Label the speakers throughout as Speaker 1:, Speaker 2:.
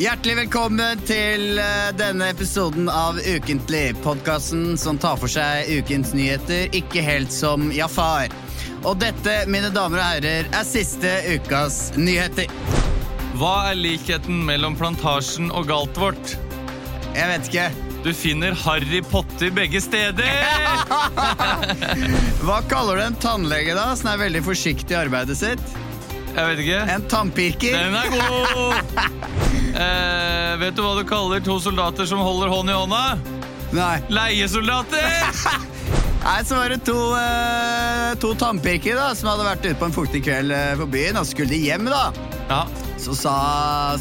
Speaker 1: Hjertelig velkommen til eh, denne episoden av Ukentlig. Podkasten som tar for seg ukens nyheter, ikke helt som Jafar. Og dette, mine damer og herrer, er siste ukas nyheter.
Speaker 2: Hva er likheten mellom plantasjen og Galtvort?
Speaker 1: Jeg vet ikke.
Speaker 2: Du finner Harry Potter begge steder!
Speaker 1: Hva kaller du en tannlege, da, som er veldig forsiktig i arbeidet sitt?
Speaker 2: Jeg vet ikke.
Speaker 1: En tannpirker?
Speaker 2: Den er god! Eh, vet du hva du kaller to soldater som holder hånd i hånda?
Speaker 1: Nei.
Speaker 2: Leiesoldater!
Speaker 1: Nei, så var det to, eh, to tannpirkere da, som hadde vært ute på en fuktig kveld eh, på byen, og så skulle de hjem, da.
Speaker 2: Ja,
Speaker 1: Så sa,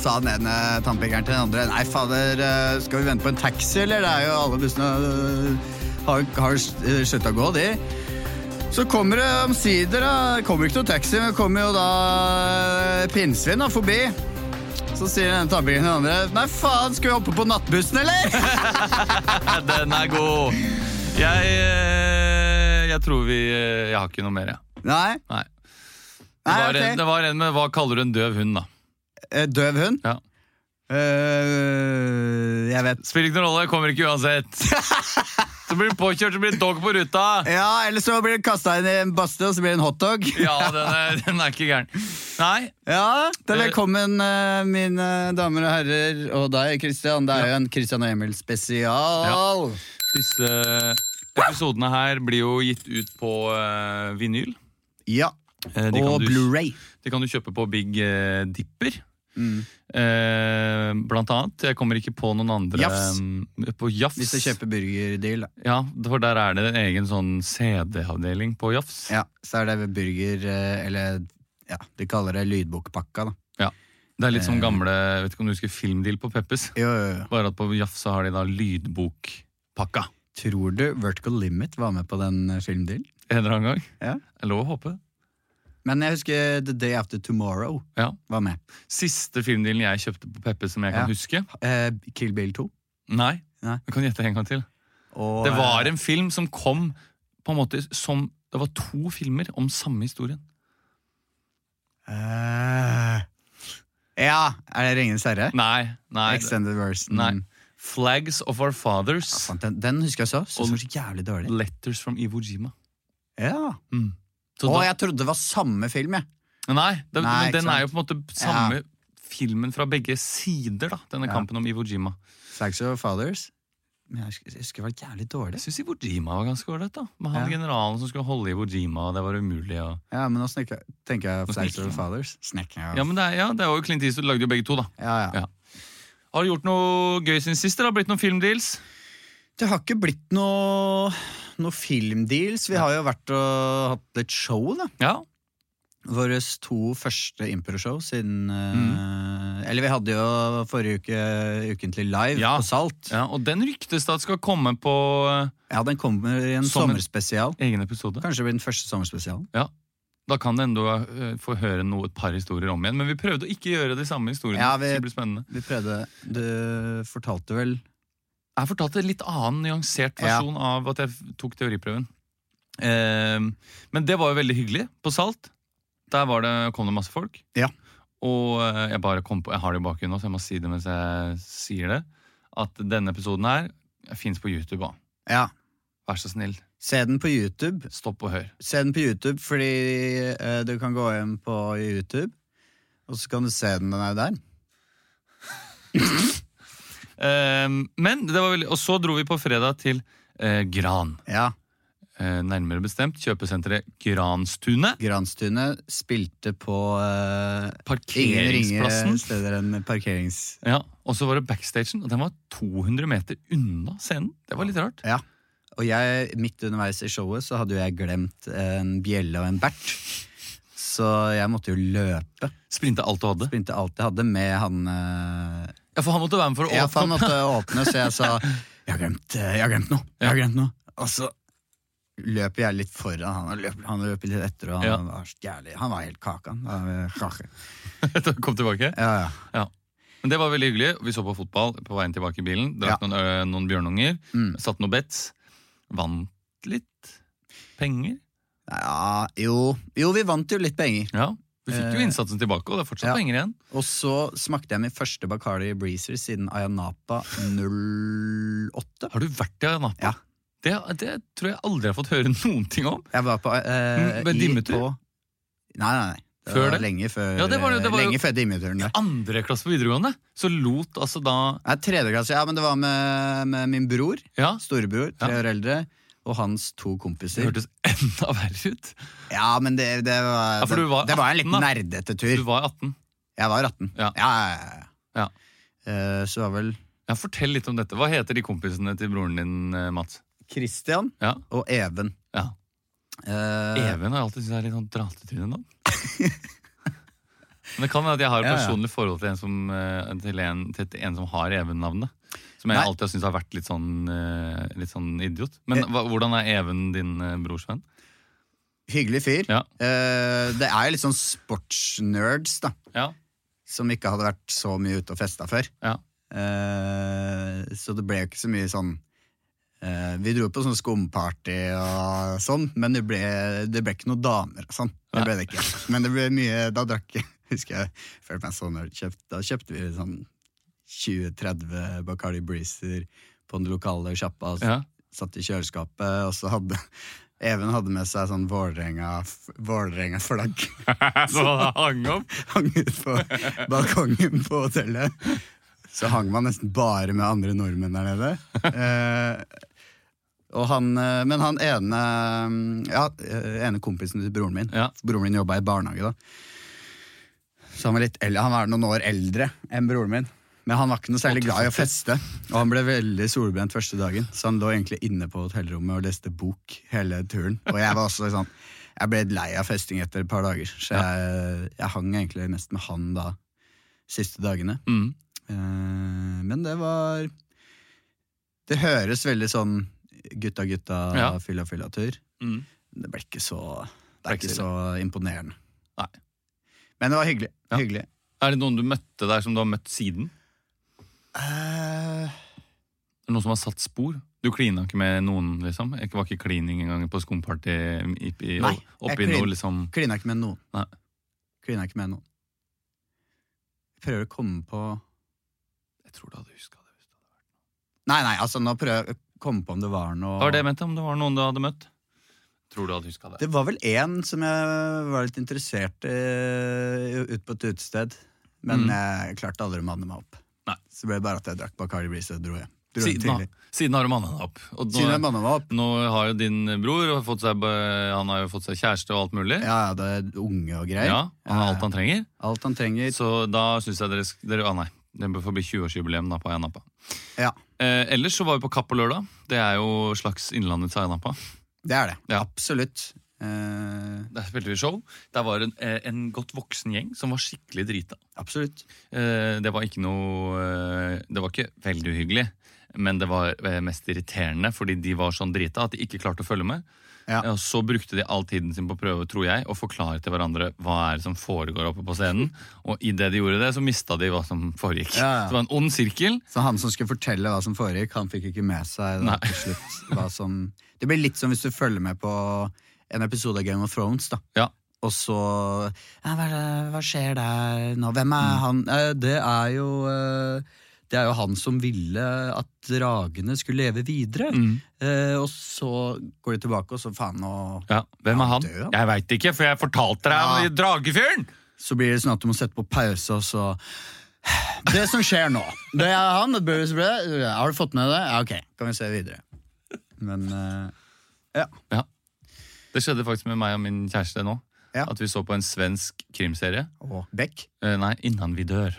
Speaker 1: sa den ene tannpirkeren til den andre Nei, fader, eh, skal vi vente på en taxi, eller? Det er jo alle bussene eh, har, har eh, slutta å gå, de. Så kommer det omsider, da. Det Kommer ikke noe taxi, men det kommer jo da eh, pinnsvin da, forbi. Så sier den ene tannpirkeren til den andre Nei, faen, skal vi hoppe på nattbussen, eller?
Speaker 2: den er god. Jeg, eh, jeg tror vi eh, Jeg har ikke noe mer, jeg.
Speaker 1: Nei.
Speaker 2: Nei. Det
Speaker 1: Nei,
Speaker 2: var, en,
Speaker 1: ok.
Speaker 2: det var en med Hva kaller du en døv hund, da?
Speaker 1: Eh, Døv hund?
Speaker 2: Ja.
Speaker 1: Eh, jeg vet
Speaker 2: Spiller ikke noen rolle, kommer ikke uansett. Så blir du påkjørt, så blir det dog på ruta.
Speaker 1: Ja, eller så blir det kasta inn i en badstue, og så blir det en hotdog.
Speaker 2: Ja, den er, den er ikke gæren. Nei,
Speaker 1: Ja, det er
Speaker 2: Eh,
Speaker 1: velkommen eh, mine damer og herrer, og deg, Kristian. Det er jo en Kristian og Emil spesial.
Speaker 2: disse episodene her blir jo gitt ut på eh, vinyl.
Speaker 1: Ja,
Speaker 2: Eh, de kan
Speaker 1: Og
Speaker 2: du-
Speaker 1: Blu-ray.
Speaker 2: De kan du kjøpe på Big eh, Dipper.
Speaker 1: Mm.
Speaker 2: Eh, blant annet. Jeg kommer ikke på noen andre
Speaker 1: Jafs.
Speaker 2: eh, På Jafs.
Speaker 1: Hvis du kjøper burgerdeal, da.
Speaker 2: Ja, for der er det en egen sånn CD-avdeling på Jafs.
Speaker 1: Ja, så er det burger, eh, eller ja, de kaller det lydbokpakka, da.
Speaker 2: Det er litt som
Speaker 1: Eh.
Speaker 2: gamle jeg vet ikke om du husker Filmdeal på Peppes.
Speaker 1: Jo, jo, jo.
Speaker 2: Bare at på Jafs så har de da lydbokpakka.
Speaker 1: Tror du Vertical Limit var med på den eh, filmdealen?
Speaker 2: En eller annen gang.
Speaker 1: Ja.
Speaker 2: Det er Lov å håpe.
Speaker 1: Men jeg husker The Day After Tomorrow
Speaker 2: Ja.
Speaker 1: var med.
Speaker 2: Siste filmdealen jeg kjøpte på Peppes som jeg kan
Speaker 1: Ja.
Speaker 2: huske,
Speaker 1: Eh, Kill Bill 2.
Speaker 2: Nei.
Speaker 1: Nei.
Speaker 2: Du kan gjette en gang til.
Speaker 1: Og,
Speaker 2: Det var
Speaker 1: eh,
Speaker 2: en film som kom på en måte som Det var to filmer om samme historien.
Speaker 1: eh, Ja, er det Ringenes herre?
Speaker 2: Nei. nei
Speaker 1: Extended version.
Speaker 2: nei. Flags of Our
Speaker 1: Mm. Ja,
Speaker 2: Fathers.
Speaker 1: sant, den, den husker jeg så. Synes den var så jævlig dårlig.
Speaker 2: Letters from Iwo Jima.
Speaker 1: Ja.
Speaker 2: Mm. Så
Speaker 1: Å,
Speaker 2: da,
Speaker 1: jeg trodde det var samme film, jeg.
Speaker 2: Nei, det,
Speaker 1: Nei, ikke
Speaker 2: men den
Speaker 1: sant.
Speaker 2: er jo på en måte samme filmen fra begge sider, da. Denne
Speaker 1: Ja.
Speaker 2: kampen om Iwo Jima.
Speaker 1: Flags of Fathers. Men jeg husker, jeg husker det var jævlig dårlig.
Speaker 2: Jeg syns Iwo Jima var ganske ålreit, da. Med han
Speaker 1: Ja.
Speaker 2: generalen som skulle holde Iwo Jima, og det var umulig. Og...
Speaker 1: Ja, men nå snakker, tenker jeg
Speaker 2: Nå
Speaker 1: Flags of
Speaker 2: snekker jeg.
Speaker 1: Fathers. Snekker jeg.
Speaker 2: Ja, men det er, ja, det er jo Clint Eastwood lagde jo begge to, da.
Speaker 1: ja, ja.
Speaker 2: Ja. Har du gjort noe gøy siden sist? eller Har det blitt noen filmdeals?
Speaker 1: Det har ikke blitt noe, noe filmdeals. Vi har jo vært og hatt litt show, da.
Speaker 2: Ja.
Speaker 1: Våre to første improshow siden eh, Eller vi hadde jo forrige uke ukentlig live
Speaker 2: Ja.
Speaker 1: på Salt. Ja.
Speaker 2: Ja, og den ryktes da at skal komme på eh,
Speaker 1: den kommer i en
Speaker 2: Sommer-
Speaker 1: sommerspesial.
Speaker 2: egen episode.
Speaker 1: Kanskje det blir den første sommerspesialen.
Speaker 2: Da kan det enda eh, få høre noe, et par historier om igjen. Men vi prøvde å ikke gjøre de samme historiene.
Speaker 1: Ja,
Speaker 2: Ja,
Speaker 1: vi-
Speaker 2: det blir spennende.
Speaker 1: Vi prøvde Du fortalte vel
Speaker 2: Jeg fortalte en litt annen nyansert
Speaker 1: Ja.
Speaker 2: versjon av at jeg f- tok teoriprøven. Eh, men det var jo veldig hyggelig på Salt. Der var det, kom det masse folk.
Speaker 1: Ja.
Speaker 2: Og eh, jeg bare kom på, jeg har det i bakgrunnen nå, så jeg må si det mens jeg sier det, at denne episoden her fins på YouTube òg.
Speaker 1: Ja.
Speaker 2: Vær så snill,
Speaker 1: Se den på YouTube.
Speaker 2: stopp og hør.
Speaker 1: Se den på YouTube, fordi eh, du kan gå hjem på YouTube, og så kan du se den. Den er jo der.
Speaker 2: Ehm, men det var veldig, Og så dro vi på fredag til eh, Gran.
Speaker 1: Ja.
Speaker 2: Eh, nærmere bestemt kjøpesenteret Granstunet.
Speaker 1: Granstunet spilte på eh, ingen ringere
Speaker 2: Parkeringsplassen.
Speaker 1: steder enn parkerings...
Speaker 2: Ja, Og så var det backstagen, og den var 200 meter unna scenen. Det var litt rart.
Speaker 1: Ja. Og jeg, midt underveis i showet så hadde jo jeg glemt en bjelle og en bert. Så jeg måtte jo løpe.
Speaker 2: Sprinta alt du hadde.
Speaker 1: Begynte alt jeg hadde med han eh,
Speaker 2: Ja, For han måtte være med for å
Speaker 1: Ja, for han
Speaker 2: åpne.
Speaker 1: måtte åpne, så jeg sa Jeg har glemt, eh, jeg har glemt noe. Jeg har glemt noe. Og så løper jeg litt foran han, og løper, han løper litt etter, og han
Speaker 2: Ja.
Speaker 1: var så jævlig Han var helt kake, han. Han var kake.
Speaker 2: Da kom tilbake.
Speaker 1: Ja, ja.
Speaker 2: Men det var veldig hyggelig. Vi så på fotball på veien tilbake i bilen. Drakk noen, ø, noen bjørnunger.
Speaker 1: Mm.
Speaker 2: Satt noe bets. Vant litt penger.
Speaker 1: ja jo. jo, vi vant jo litt penger.
Speaker 2: Ja. Du fikk jo
Speaker 1: Eh,
Speaker 2: innsatsen tilbake, og det er fortsatt
Speaker 1: ja.
Speaker 2: penger igjen.
Speaker 1: Og så smakte jeg min første Bacardi Breezer siden Ayanapa 08.
Speaker 2: Har du vært i Ayanapa?
Speaker 1: Ja.
Speaker 2: Det, det tror jeg aldri jeg har fått høre noen ting om.
Speaker 1: Jeg var på eh,
Speaker 2: Mm, men
Speaker 1: i-
Speaker 2: dimmetur?
Speaker 1: på- Nei, nei, nei. Det
Speaker 2: Før
Speaker 1: var
Speaker 2: det?
Speaker 1: Lenge før,
Speaker 2: Ja, det var det- det var jo-
Speaker 1: lenge før dimmeturen. Der.
Speaker 2: Andre klasse på videregående, så lot altså da
Speaker 1: Nei, tredje klasse, ja, men det var med, med min bror.
Speaker 2: Ja,
Speaker 1: Storebror, tre år eldre. Og hans to
Speaker 2: det
Speaker 1: kompiser.
Speaker 2: hørtes enda verre ut.
Speaker 1: Ja, men det, det, var,
Speaker 2: Ja, for du var
Speaker 1: det, det var en litt
Speaker 2: 18, da.
Speaker 1: nerdete
Speaker 2: Du
Speaker 1: tur.
Speaker 2: var 18.
Speaker 1: Jeg var 18.
Speaker 2: Ja.
Speaker 1: ja, ja. ja, ja.
Speaker 2: Ja.
Speaker 1: Eh, så var vel
Speaker 2: Ja, Fortell litt om dette. Hva heter de kompisene til broren din, eh, Mats?
Speaker 1: Christian
Speaker 2: Ja,
Speaker 1: og Even.
Speaker 2: ja.
Speaker 1: Eh,
Speaker 2: Even har jeg alltid syntes er litt sånn dratetryne nå. Men det kan være at jeg har et
Speaker 1: Ja, ja.
Speaker 2: personlig forhold til en som, eh, til en, til en som har Even-navnet. Som jeg
Speaker 1: Nei.
Speaker 2: alltid har syntes har vært litt sånn, eh, litt sånn idiot. Men
Speaker 1: Eh.
Speaker 2: hva, hvordan er Even din eh, brors venn?
Speaker 1: hyggelig fyr.
Speaker 2: Ja.
Speaker 1: Eh, det er jo litt sånn sportsnerds, da.
Speaker 2: Ja.
Speaker 1: Som ikke hadde vært så mye ute og festa før.
Speaker 2: Ja.
Speaker 1: Eh, så det ble jo ikke så mye sånn eh, Vi dro på sånn skumparty og sånn, men det ble, det ble ikke noen damer og sånn. Det
Speaker 2: Nei.
Speaker 1: ble det ikke. Men det ble mye Da drakk jeg, husker jeg, følte meg så nerd. Kjøpt, da kjøpte vi sånn 20-30 Bacardi Breezer på den lokale sjappa.
Speaker 2: ja.
Speaker 1: Satt i kjøleskapet, og så hadde Even hadde med seg sånn Vålerenga- Vålerenga-flagg
Speaker 2: Så han hang opp?
Speaker 1: hang ut på balkongen på hotellet. Så hang man nesten bare med andre nordmenn der nede. Eh, og han, eh, men han ene, mm, ja, eh, ene kompisen til broren min
Speaker 2: Ja.
Speaker 1: Broren min jobba i barnehage da. Så han var, litt, eldre- han var noen år eldre enn broren min. Men han var ikke noe særlig glad i å feste, og han ble veldig solbrent første dagen. Så han lå egentlig inne på hotellrommet og leste bok hele turen. Og jeg var også sånn Jeg ble lei av festing etter et par dager, så jeg, jeg hang egentlig mest med han da siste dagene.
Speaker 2: Mm.
Speaker 1: Eh, men det var Det høres veldig sånn
Speaker 2: Ja.
Speaker 1: gutta-gutta-fylla-fylla-tur.
Speaker 2: Mm.
Speaker 1: Det ble ikke så Det
Speaker 2: Ble
Speaker 1: er
Speaker 2: ikke
Speaker 1: ikke
Speaker 2: så
Speaker 1: så imponerende.
Speaker 2: Nei.
Speaker 1: Men det var hyggelig.
Speaker 2: Ja.
Speaker 1: Hyggelig.
Speaker 2: Er det noen du møtte der som du har møtt siden?
Speaker 1: Eh,
Speaker 2: Er det Noen som har satt spor? Du klina ikke med noen, liksom? Jeg var ikke klining engang på skumparty i- i-
Speaker 1: Nei, jeg
Speaker 2: oppi
Speaker 1: klin-
Speaker 2: noe, liksom?
Speaker 1: klina ikke med noen.
Speaker 2: Nei.
Speaker 1: Klina ikke med noen. Jeg prøver å komme på
Speaker 2: Jeg tror du hadde huska det. hvis du hadde vært
Speaker 1: Nei, nei, altså nå prøver jeg å komme på om det var noe
Speaker 2: Hva var det jeg mente? Om det var noen du hadde møtt? Tror du hadde huska det.
Speaker 1: Det var vel én som jeg var litt interessert i ute på et utested. Men
Speaker 2: Mm.
Speaker 1: jeg klarte aldri å manne meg opp.
Speaker 2: Nei.
Speaker 1: Så ble det bare at jeg drakk Bacardi Breeze og dro hjem. Dro hjem
Speaker 2: siden, har-
Speaker 1: tidlig.
Speaker 2: siden har du manna deg opp. Og nå,
Speaker 1: Siden jeg manna meg opp.
Speaker 2: nå har jo din bror fått seg, b- han har jo fått seg kjæreste og alt mulig.
Speaker 1: Ja, ja, det er unge og greier.
Speaker 2: Ja, Han har alt han trenger.
Speaker 1: Alt han trenger.
Speaker 2: Så da syns jeg dere, sk- dere ah, Nei, det bør forbi 20-årsjubileum da på Ayia Napa.
Speaker 1: Ja.
Speaker 2: Eh, ellers så var vi på Kapp på lørdag. Det er jo slags Innlandets Ayia Napa.
Speaker 1: Det er det.
Speaker 2: Ja.
Speaker 1: Absolutt. Eh,
Speaker 2: Der spilte vi show. Der var en, eh, en godt voksen gjeng som var skikkelig drita.
Speaker 1: absolutt.
Speaker 2: Eh, Det var ikke noe eh, Det var ikke veldig uhyggelig, men det var eh, mest irriterende fordi de var sånn drita at de ikke klarte å følge med.
Speaker 1: Ja.
Speaker 2: Eh, Og så brukte de all tiden sin på prøve, tror jeg, å forklare til hverandre hva er det som foregår oppe på scenen. Og idet de gjorde det, så mista de hva som foregikk.
Speaker 1: Ja, ja.
Speaker 2: Så det var en ond sirkel.
Speaker 1: Så han som skulle fortelle hva som foregikk, han fikk ikke med seg da,
Speaker 2: Nei.
Speaker 1: til slutt hva som Det blir litt som hvis du følger med på en episode av Game of Thrones, da.
Speaker 2: Ja.
Speaker 1: Og så ja, hva, er det- hva skjer der nå? Hvem er han? Eh, Det er jo eh, Det er jo han som ville at dragene skulle leve videre. Eh, Og så går de tilbake, og så faen nå
Speaker 2: Ja, Hvem
Speaker 1: Ja,
Speaker 2: er han?
Speaker 1: død, han.
Speaker 2: Jeg veit ikke, for jeg fortalte deg om
Speaker 1: Ja.
Speaker 2: de dragefyren!
Speaker 1: Så blir det sånn at du må sette på pause, og så Det som skjer nå Det er han, det burde- burde- Har du fått med det? Ja, ok, kan vi se videre. Men eh, ja.
Speaker 2: Ja. Det skjedde faktisk med meg og min kjæreste nå.
Speaker 1: Ja.
Speaker 2: At vi så på en svensk krimserie.
Speaker 1: Og Beck.
Speaker 2: Eh, Nei, 'Innan vi dør'.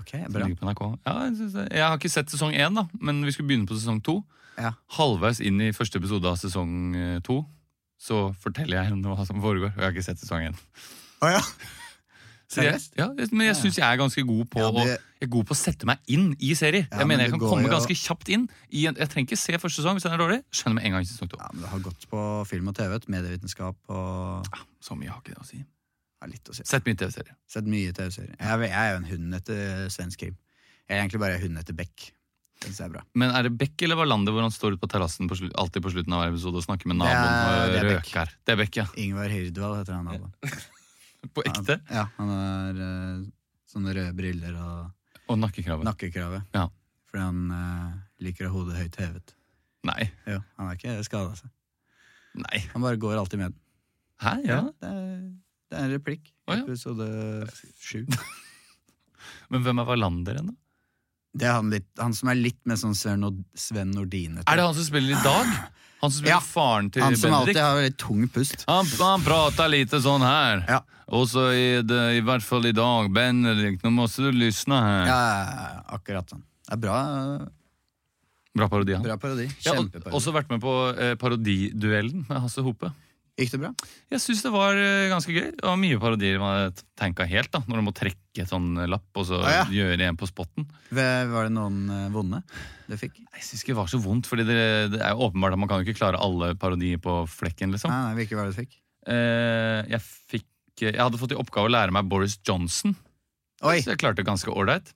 Speaker 1: Ok,
Speaker 2: som
Speaker 1: bra.
Speaker 2: ligger på NRK. Ja, jeg, synes det. jeg har ikke sett sesong én, da, men vi skulle begynne på sesong to.
Speaker 1: Ja.
Speaker 2: Halvveis inn i første episode av sesong eh, to så forteller jeg henne hva som foregår. Og jeg har ikke sett sesong én.
Speaker 1: Å ja.
Speaker 2: Så jeg-
Speaker 1: Seriøst?
Speaker 2: Ja, det- men jeg
Speaker 1: Ja.
Speaker 2: syns jeg er ganske god på
Speaker 1: Ja,
Speaker 2: å
Speaker 1: det-
Speaker 2: jeg er god på å sette meg inn i serier.
Speaker 1: Ja,
Speaker 2: jeg
Speaker 1: men
Speaker 2: mener jeg
Speaker 1: det
Speaker 2: kan
Speaker 1: går
Speaker 2: komme
Speaker 1: jo-
Speaker 2: ganske kjapt inn. I en, jeg trenger ikke se første sesong hvis den er dårlig. Skjønner med en gang sesong to.
Speaker 1: ja, men det har gått på film og TV, vet du, medievitenskap og
Speaker 2: Så mye har ikke det å si.
Speaker 1: ja, litt å si.
Speaker 2: Sett mye TV-serier.
Speaker 1: Sett mye TV-serier. Jeg, er- jeg er jo en hund etter svensk krim. Jeg er egentlig bare hund etter Beck. Den ser jeg bra.
Speaker 2: Men er det Beck eller Wallander hvor han står ute på terrassen på slu- alltid på slutten av hver episode og snakker med
Speaker 1: Det er-
Speaker 2: naboen og
Speaker 1: det er Beck.
Speaker 2: røker? Det er Beck, ja.
Speaker 1: Ingvar Hirdwal heter han. Alba.
Speaker 2: På ekte.
Speaker 1: Ja, han har eh, sånne røde briller og
Speaker 2: Og nakkekrabbe.
Speaker 1: nakkekrave.
Speaker 2: Ja.
Speaker 1: Fordi han eh, liker å ha hodet høyt hevet.
Speaker 2: Nei.
Speaker 1: Jo, han er ikke skada seg.
Speaker 2: Nei.
Speaker 1: Han bare går alltid med den.
Speaker 2: Hæ, ja?
Speaker 1: det, er, det er en replikk.
Speaker 2: Å, ja.
Speaker 1: Episode sju.
Speaker 2: Men hvem er Wallander igjen, da?
Speaker 1: Det er han, litt, han som er litt mer sånn Sven, Nord Sven Nordin.
Speaker 2: Er det han som spiller i dag? Han som spiller
Speaker 1: Ja.
Speaker 2: faren til
Speaker 1: han som alltid
Speaker 2: Bendik?
Speaker 1: har litt tung pust?
Speaker 2: Han, han prater lite sånn her.
Speaker 1: Ja.
Speaker 2: Og så i, det- i hvert fall i dag, Bendik, nå må du lysne her.
Speaker 1: Ja, ja, ja, akkurat sånn. Det er bra,
Speaker 2: Bra parodi, han.
Speaker 1: bra parodi.
Speaker 2: Ja, og,
Speaker 1: Kjempeparodi.
Speaker 2: også vært med på eh, parodiduellen med Hasse Hope.
Speaker 1: Gikk det bra?
Speaker 2: Jeg syns det var eh, ganske gøy. Det var mye parodier man tenka helt, da, når du må trekke et sånn lapp og så
Speaker 1: Ah, ja.
Speaker 2: gjøre en på spotten.
Speaker 1: Ve- Var det noen eh, vonde du fikk?
Speaker 2: Jeg syns ikke det var så vondt, fordi det, det er jo åpenbart at man kan jo ikke klare alle parodier på flekken, liksom.
Speaker 1: Nei, nei, hvilke var det du fikk?
Speaker 2: Eh, jeg fikk eh, Jeg hadde fått i oppgave å lære meg Boris Johnson,
Speaker 1: Oi!
Speaker 2: så jeg klarte det ganske ålreit.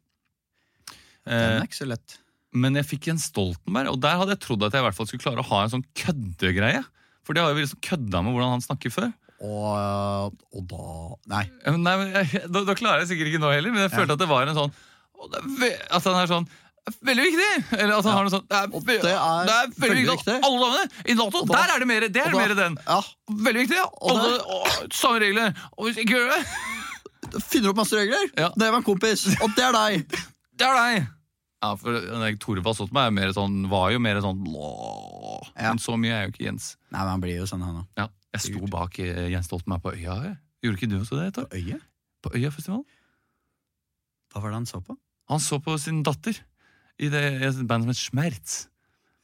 Speaker 1: Den
Speaker 2: Eh,
Speaker 1: er ikke så lett.
Speaker 2: men jeg fikk en Stoltenberg, og der hadde jeg trodd at jeg i hvert fall skulle klare å ha en sånn køddegreie. For det har jo vi liksom kødda med hvordan han snakker før.
Speaker 1: Og, og da Nei.
Speaker 2: Ja, men Nei, men jeg, da, da klarer jeg sikkert ikke nå heller, men jeg
Speaker 1: Ja.
Speaker 2: følte at det var en sånn «Å, det er ve At han er sånn «Det er Veldig viktig! Eller at han
Speaker 1: Ja.
Speaker 2: har noe sånt. Det er,
Speaker 1: Og
Speaker 2: ve-
Speaker 1: det er
Speaker 2: veldig
Speaker 1: veldig
Speaker 2: viktig
Speaker 1: viktig.
Speaker 2: at alle landene i Nato
Speaker 1: Og da-
Speaker 2: Der er det mer det er
Speaker 1: og da-
Speaker 2: mer den!
Speaker 1: Ja,
Speaker 2: Veldig viktig!
Speaker 1: Og
Speaker 2: Alle, å, samme regler! Og hvis ikke gjør det,
Speaker 1: Finner opp masse regler!
Speaker 2: Ja.
Speaker 1: Det var en kompis, og det er deg!
Speaker 2: det er deg! Ja, for den der Torvald Stoltenberg er mer sånn, var jo mer sånn «Blå».
Speaker 1: Ja.
Speaker 2: Men så mye er jo ikke Jens.
Speaker 1: Nei, men han blir jo sånn, han òg.
Speaker 2: Ja, jeg sto bak eh, Jens Stoltenberg på Øya. jeg. Gjorde ikke du også det? Tor?
Speaker 1: Øyet?
Speaker 2: På Øyafestivalen?
Speaker 1: Hva var det han så på?
Speaker 2: Han så på sin datter i det i et band som het Schmerz.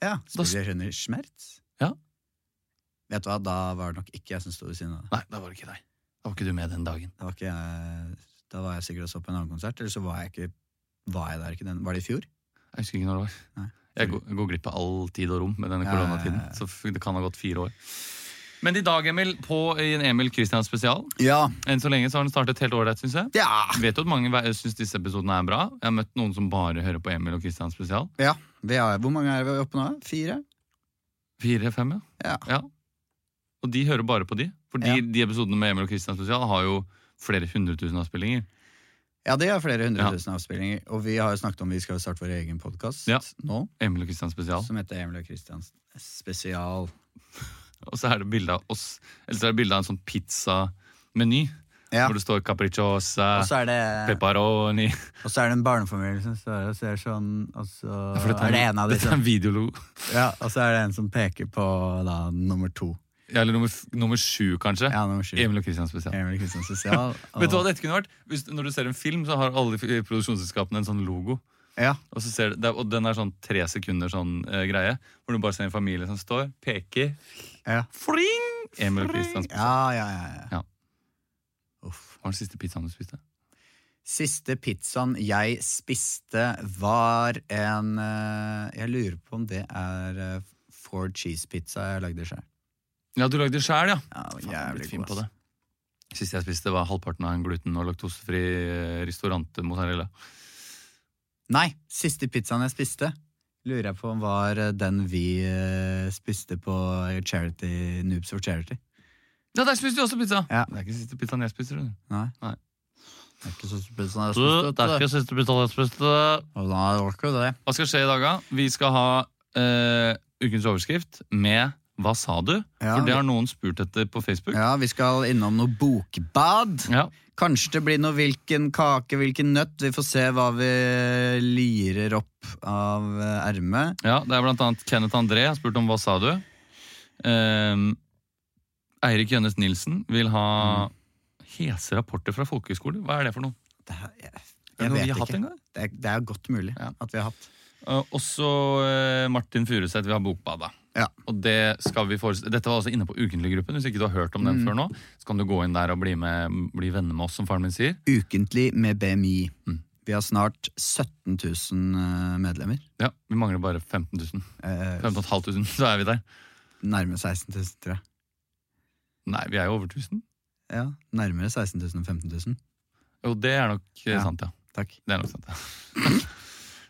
Speaker 1: Ja,
Speaker 2: Da-
Speaker 1: Spiller jeg skjønner smerts?
Speaker 2: Ja.
Speaker 1: Vet du hva, da var det nok ikke jeg som sto ved siden av deg.
Speaker 2: Nei, da var det ikke deg. Da var ikke du med den dagen.
Speaker 1: Da var, ikke jeg, da var jeg sikkert og så på en annen konsert, eller så var jeg ikke Var jeg der ikke den? Var det i fjor?
Speaker 2: Jeg husker ikke når det var.
Speaker 1: Nei.
Speaker 2: Jeg går, går glipp av all tid og rom med denne
Speaker 1: Ja,
Speaker 2: koronatiden.
Speaker 1: ja, ja.
Speaker 2: Så f- det kan ha gått fire år. Men i dag, Emil, på i en Emil Christian spesial.
Speaker 1: Ja.
Speaker 2: Enn så lenge så har den startet helt ålreit, syns jeg.
Speaker 1: Ja!
Speaker 2: Vet jo at mange syns disse episodene er bra. Jeg har møtt noen som bare hører på Emil og Christian spesial.
Speaker 1: ja. Vi har, hvor mange er vi oppe nå? Fire?
Speaker 2: Fire-fem,
Speaker 1: Ja.
Speaker 2: Og de hører bare på de. For de,
Speaker 1: Ja.
Speaker 2: de episodene med Emil og Christian spesial har jo flere hundre tusen avspillinger.
Speaker 1: Ja, det er flere hundre
Speaker 2: Ja.
Speaker 1: tusen avspillinger. Og vi har jo snakket om vi skal jo starte vår egen podkast
Speaker 2: Ja.
Speaker 1: nå,
Speaker 2: Emil og Christian spesial.
Speaker 1: som heter Emil og Kristians spesial.
Speaker 2: Og så er det bilde av oss. Eller så er det bilde av en sånn pizzameny.
Speaker 1: Ja.
Speaker 2: Hvor det står
Speaker 1: Og
Speaker 2: capricciosa,
Speaker 1: så er det,
Speaker 2: pepperoni
Speaker 1: og så er det en barnefamilie som står og ser sånn, og så
Speaker 2: Ja, for dette
Speaker 1: er det en av de
Speaker 2: Dette er
Speaker 1: som
Speaker 2: en videologo.
Speaker 1: Ja, og så er det en som peker på da nummer to.
Speaker 2: Ja, eller nummer, f- nummer sju, kanskje.
Speaker 1: Ja, nummer sju.
Speaker 2: Emil og Christian spesial.
Speaker 1: Emil og Kristian spesial. og-
Speaker 2: Vet du hva dette kunne vært? Hvis, når du ser en film, så har alle f- produksjonsselskapene en sånn logo.
Speaker 1: Ja.
Speaker 2: Og, så ser du, det er- og den er sånn tre sekunder sånn eh, greie. Hvor du bare ser en familie som står, peker
Speaker 1: Ja.
Speaker 2: Fling! Emil og Christian spesial.
Speaker 1: Ja, ja, ja, ja.
Speaker 2: Ja.
Speaker 1: Uff.
Speaker 2: Hva var den siste pizzaen du spiste?
Speaker 1: Siste pizzaen jeg spiste, var en eh, Jeg lurer på om det er eh, four cheese pizza jeg lagde sjøl.
Speaker 2: Ja, du lagde det sjæl, ja.
Speaker 1: Ja, det var
Speaker 2: Faen, jeg er blitt
Speaker 1: jævlig
Speaker 2: fin
Speaker 1: god.
Speaker 2: på
Speaker 1: ass.
Speaker 2: det. Siste jeg spiste, var halvparten av en gluten- og laktosefri eh, restaurantmozzarella.
Speaker 1: Nei, siste pizzaen jeg spiste, lurer jeg på om var eh, den vi eh, spiste på Charity, Noobs for Charity.
Speaker 2: Ja, der spiste du også pizza!
Speaker 1: Ja.
Speaker 2: Det er ikke siste pizzaen jeg spiser. du.
Speaker 1: Nei.
Speaker 2: Nei.
Speaker 1: Det er ikke siste pizzaen jeg
Speaker 2: Du,
Speaker 1: spiste.
Speaker 2: Det er
Speaker 1: vet du.
Speaker 2: ikke siste pizzaen jeg spiste.
Speaker 1: Og da var ikke det.
Speaker 2: Hva skal skje i dag, da? Vi skal ha eh, ukens overskrift med Hva sa du?
Speaker 1: Ja,
Speaker 2: For det har noen spurt etter på Facebook.
Speaker 1: ja, vi skal innom noe bokbad.
Speaker 2: Ja.
Speaker 1: Kanskje det blir noe hvilken kake, hvilken nøtt. Vi får se hva vi lirer opp av eh, ermet.
Speaker 2: ja, Det er blant annet Kenneth André har spurt om Hva sa du? Ehm, Eirik Jønnes Nilsen vil
Speaker 1: Mm.
Speaker 2: ha hese rapporter fra folkehøyskoler. Hva er det for noe?
Speaker 1: Det er- Jeg,
Speaker 2: Er det
Speaker 1: jeg
Speaker 2: noe vi
Speaker 1: vet
Speaker 2: har hatt
Speaker 1: ikke.
Speaker 2: en gang?
Speaker 1: Det er, det er godt mulig
Speaker 2: Ja.
Speaker 1: at vi har hatt.
Speaker 2: Eh, også eh, Martin Furuseth vil ha Bokbada.
Speaker 1: Ja.
Speaker 2: Og det skal vi forestille. Dette var også inne på Ukentlig-gruppen. Hvis ikke du har hørt om den
Speaker 1: Mm.
Speaker 2: før nå, så kan du gå inn der og bli, med, bli venner med oss, som faren min sier.
Speaker 1: Ukentlig med BMI.
Speaker 2: Mm.
Speaker 1: Vi har snart 17 000 medlemmer.
Speaker 2: Ja, Vi mangler bare 15 000.
Speaker 1: Eh,
Speaker 2: 15 500, så er vi der.
Speaker 1: nærmere 16 000, tror jeg.
Speaker 2: Nei, vi er jo over 1000.
Speaker 1: Ja, nærmere 16 000 og 15 000.
Speaker 2: Jo, det er nok eh,
Speaker 1: Ja.
Speaker 2: sant, ja.
Speaker 1: Takk.
Speaker 2: Det er nok sant, ja.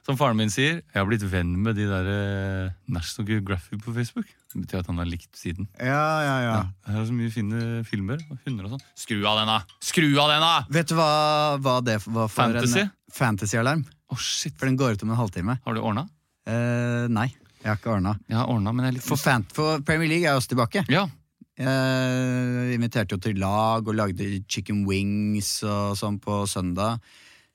Speaker 2: Som faren min sier, jeg har blitt venn med de der eh, National Geographic på Facebook. Det betyr at han har likt siden.
Speaker 1: Ja, ja, ja.
Speaker 2: Det er så mye fine filmer og hunder og sånn. Skru av den, da! Skru av den, da!
Speaker 1: Vet du hva, hva det var for
Speaker 2: Fantasy?
Speaker 1: en Fantasy-alarm?
Speaker 2: Å, shit.
Speaker 1: For den går ut om en halvtime.
Speaker 2: Har du ordna?
Speaker 1: Eh, nei, jeg har ikke ordna.
Speaker 2: Jeg har ordna, men jeg er litt
Speaker 1: For, fan, for Premier League er også tilbake.
Speaker 2: Ja.
Speaker 1: Jeg inviterte jo til lag og lagde chicken wings og sånn på søndag.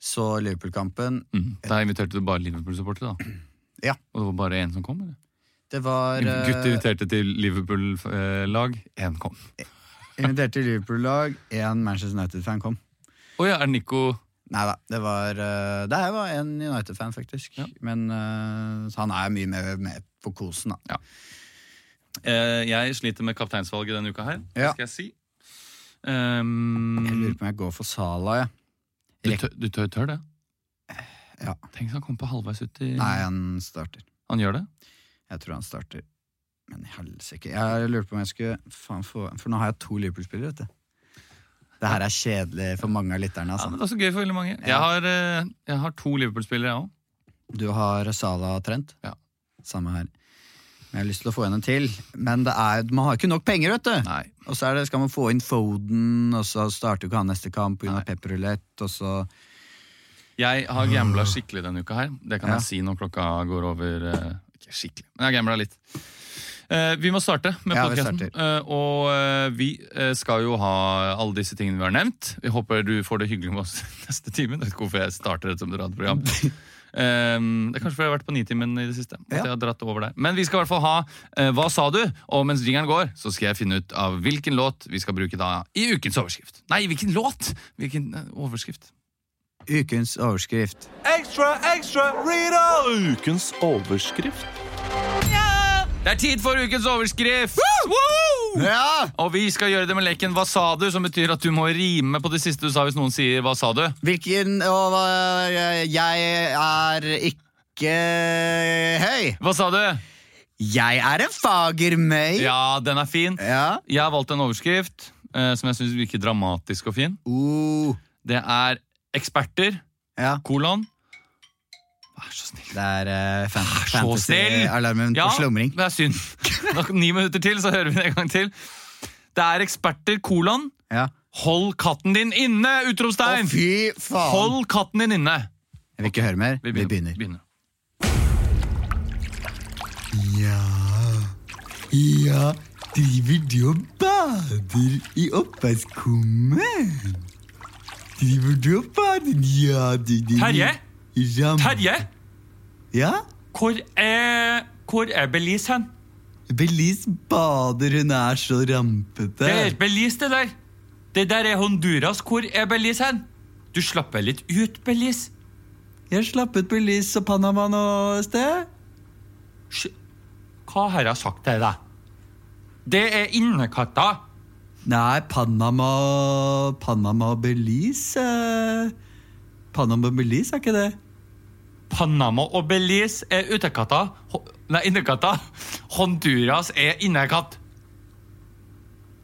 Speaker 1: Så Liverpool-kampen
Speaker 2: Mm. Da inviterte du bare Liverpool-supportere, da.
Speaker 1: Ja.
Speaker 2: Og det var bare én som kom? eller?
Speaker 1: Det var eh,
Speaker 2: Gutter inviterte til Liverpool-lag, én kom.
Speaker 1: eh, Inviterte Liverpool-lag, én Manchester United-fan kom.
Speaker 2: Å ja, er Nico
Speaker 1: Nei da, det var eh, Det her var en United-fan, faktisk.
Speaker 2: Ja.
Speaker 1: Men eh, så han er mye mer med på kosen, da.
Speaker 2: Eh, Jeg sliter med kapteinsvalget denne uka her,
Speaker 1: Ja.
Speaker 2: skal jeg si. Ehm,
Speaker 1: Jeg lurer på om jeg går for Salah, jeg.
Speaker 2: du, tør, du tør, tør det?
Speaker 1: Eh, Ja.
Speaker 2: Tenk hvis han kommer på halvveis ut i
Speaker 1: Nei, han starter.
Speaker 2: Han gjør det?
Speaker 1: Jeg tror han starter. Men i helsike Jeg lurte på om jeg skulle faen få For nå har jeg to Liverpool-spillere, vet du. Det her er kjedelig for mange av lytterne.
Speaker 2: Ja,
Speaker 1: Altså.
Speaker 2: men det er så gøy for veldig mange. Jeg,
Speaker 1: Ja.
Speaker 2: har, eh, jeg har to Liverpool-spillere, jeg òg.
Speaker 1: Du har Salah Trent.
Speaker 2: Ja.
Speaker 1: Samme her. Men jeg har lyst til å få inn en til. Men det er, man har ikke nok penger, vet du.
Speaker 2: Nei.
Speaker 1: Og så er det, skal man få inn Foden, og så starter jo ikke han neste kamp pga.
Speaker 2: Nei.
Speaker 1: pepperulett, og så
Speaker 2: Jeg har gambla skikkelig denne uka her. Det kan
Speaker 1: Ah. Ja.
Speaker 2: jeg si når klokka går over. eh, Ikke skikkelig, men jeg har gambla litt. Eh, vi må starte med
Speaker 1: Ja, vi
Speaker 2: podcasten podkasten. og eh, vi eh, skal jo ha alle disse tingene vi har nevnt. Vi håper du får det hyggelig med oss neste time. Jeg vet ikke hvorfor jeg starter et sånt radioprogram. Ehm, det er kanskje fordi jeg har vært på Nitimen i det siste. At
Speaker 1: Ja.
Speaker 2: jeg har dratt over der Men vi skal i hvert fall ha eh, Hva sa du? Og mens jingeren går, så skal jeg finne ut av hvilken låt vi skal bruke da i ukens overskrift. Nei, hvilken låt! Hvilken eh, overskrift.
Speaker 1: Ukens overskrift.
Speaker 3: Ekstra, ekstra, read Ukens overskrift.
Speaker 2: Det er tid for ukens overskrift! Woo!
Speaker 1: Ja!
Speaker 2: Og vi skal gjøre det med leken Hva sa du? Som betyr at du må rime på det siste du sa hvis noen sier Hva sa du?
Speaker 1: Hvilken Og øh, jeg er ikke høy.
Speaker 2: Hva sa du?
Speaker 1: Jeg er en fager møy.
Speaker 2: Ja, den er fin.
Speaker 1: Ja.
Speaker 2: Jeg har valgt en overskrift eh, som jeg syns virker dramatisk og fin.
Speaker 1: Uh,
Speaker 2: Det er eksperter,
Speaker 1: ja.
Speaker 2: kolon Vær så snill.
Speaker 1: Det er eh, fan
Speaker 2: Ah, så snill!
Speaker 1: fantasy-alarmen
Speaker 2: Ja,
Speaker 1: på slumring.
Speaker 2: det er synd. Nok Ni minutter til, så hører vi det en gang til. Det er eksperter, kolon
Speaker 1: Ja.
Speaker 2: Hold katten din inne!
Speaker 1: Å,
Speaker 2: Utropstegn!
Speaker 1: fy faen!
Speaker 2: Hold katten din inne!
Speaker 1: Jeg vil ikke høre mer. Vi begynner. Ja Ja, driver du og bader i oppvaskkummen? Driver du og bader? Ja, du driver
Speaker 2: Terje?
Speaker 1: Ram-
Speaker 2: Terje?
Speaker 1: Ja?
Speaker 2: Hvor er, hvor er Belize hen?
Speaker 1: Belize bader, hun er så rampete.
Speaker 2: Det er Belize, det der. Det der er Honduras. Hvor er Belize hen? Du slapper litt ut, Belize.
Speaker 1: Jeg slapp ut Belize og Panama nå et sted.
Speaker 2: Sj- Hva har jeg sagt til deg? Det er innekatter.
Speaker 1: Nei, Panama Panama og Belize eh, Panama og Belize er ikke det?
Speaker 2: Panama og Belize er utekatter. Ho- Nei, innekatter. Honduras er innekatt.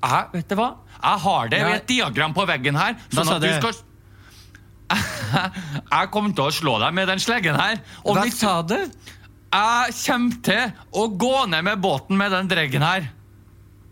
Speaker 2: Jeg, vet du hva? Jeg har det i
Speaker 1: Nei.
Speaker 2: et diagram på veggen her.
Speaker 1: Hva
Speaker 2: Sånn
Speaker 1: sa
Speaker 2: at du
Speaker 1: det?
Speaker 2: skal... Jeg kommer til å slå deg med den sleggen her. Og
Speaker 1: Hva
Speaker 2: hvis-
Speaker 1: sa du?
Speaker 2: Jeg kommer til å gå ned med båten med den dreggen her.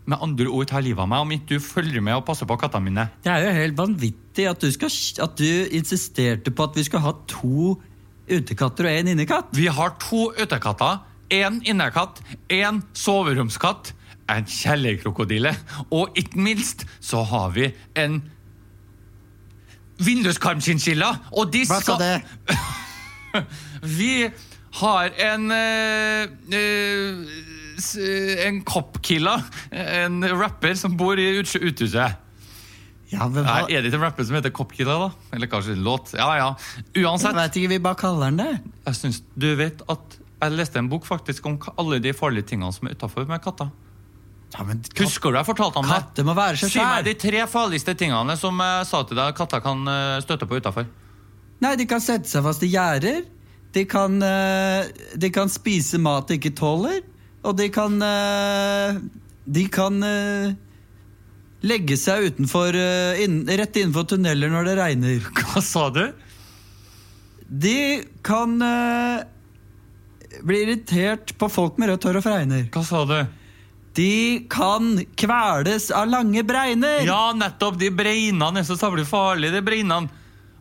Speaker 2: Med andre ord tar livet av meg om ikke du følger med og passer på kattene mine.
Speaker 1: Det er jo helt vanvittig at du, skal, at du insisterte på at vi skal ha to utekatter og én innekatt.
Speaker 2: Vi har to utekatter, én innekatt, én soveromskatt, en kjellerkrokodille, og ikke minst så har vi en vinduskarmskinnsilla, og de
Speaker 1: Hva sa
Speaker 2: skal
Speaker 1: det?
Speaker 2: Vi har en eh, eh, s- eh, En copkilla, en rapper som bor i uts- uthuset.
Speaker 1: Ja, men hva?
Speaker 2: Er det ikke en rapper som heter Copkilla, da? Eller kanskje en låt? Ja, ja.
Speaker 1: Jeg
Speaker 2: Uansett,
Speaker 1: veit ikke, vi bare kaller den det.
Speaker 2: jeg synes, du vet at jeg leste en bok faktisk om ka- alle de farlige tingene som er utafor med katter.
Speaker 1: Ja, men katt,
Speaker 2: Husker du jeg fortalte om det?
Speaker 1: katter må være seg
Speaker 2: Si meg
Speaker 1: sjæl.
Speaker 2: de tre farligste tingene som jeg sa til deg at katter kan eh, støte på utafor.
Speaker 1: Nei, de kan sette seg fast i gjerder. De kan, eh, de kan spise mat de ikke tåler. Og de kan eh, De kan eh, legge seg utenfor eh, inn, rett innenfor tunneler når det regner.
Speaker 2: Hva sa du?
Speaker 4: De kan eh, bli irritert på folk med rødt hår og fregner.
Speaker 2: Hva sa du?
Speaker 4: De kan kveles av lange bregner.
Speaker 2: Ja, nettopp! De breinene er så sabla farlige, de breinene.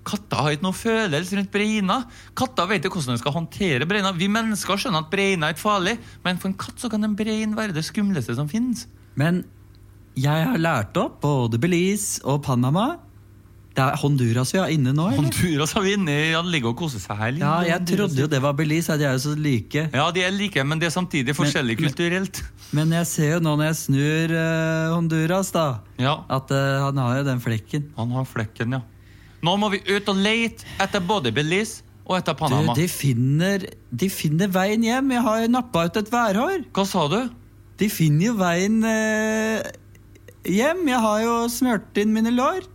Speaker 2: Katter har ikke noe følelse rundt breiner. Katter vet jo hvordan de skal håndtere breiner. Vi mennesker skjønner at breiner er ikke farlig, men for en katt så kan en brein være det skumleste som finnes.
Speaker 4: Men jeg har lært opp både Belize og Panama. Det er Honduras vi har inne nå, eller?
Speaker 2: Honduras har vi inni, han ligger og koser seg her. lille
Speaker 4: Ja, jeg
Speaker 2: Honduras.
Speaker 4: trodde jo det var Belize, at de er jo så like.
Speaker 2: Ja, de er like, men de er samtidig forskjellige
Speaker 4: men-
Speaker 2: kulturelt.
Speaker 4: Men jeg ser jo nå når jeg snur eh, Honduras, da,
Speaker 2: Ja,
Speaker 4: at eh, han har jo den flekken.
Speaker 2: han har flekken, ja. Nå må vi ut og lete etter både Belize og etter
Speaker 4: Du,
Speaker 2: Panama.
Speaker 4: de finner, de finner veien hjem. Jeg har jo nappa ut et værhår.
Speaker 2: Hva sa du?
Speaker 4: De finner jo veien eh, hjem. Jeg har jo smurt inn mine lår.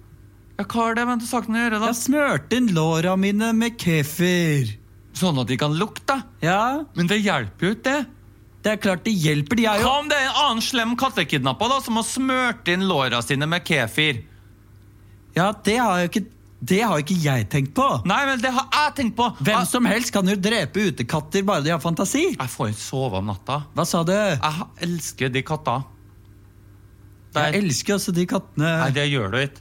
Speaker 2: Ja, hva har det med saken å gjøre,
Speaker 4: Jeg
Speaker 2: da?
Speaker 4: har smurt inn låra mine med kefir.
Speaker 2: Sånn at de kan lukte.
Speaker 4: Ja,
Speaker 2: Men det hjelper jo ikke, det.
Speaker 4: det er klart det hjelper. De er jo
Speaker 2: Hva om det er en annen slem kattekidnappa da, som har smørt inn låra sine med kefir?
Speaker 4: Ja, det har jo ikke, det har jo ikke jeg tenkt på.
Speaker 2: Nei, men det har jeg tenkt på!
Speaker 4: Hvem
Speaker 2: Jeg-
Speaker 4: som helst kan jo drepe utekatter bare de har fantasi.
Speaker 2: Jeg får ikke sove om natta.
Speaker 4: Hva sa du?
Speaker 2: Jeg elsker de katta.
Speaker 4: Jeg
Speaker 2: Der.
Speaker 4: elsker også de kattene.
Speaker 2: Nei, det gjør du ikke.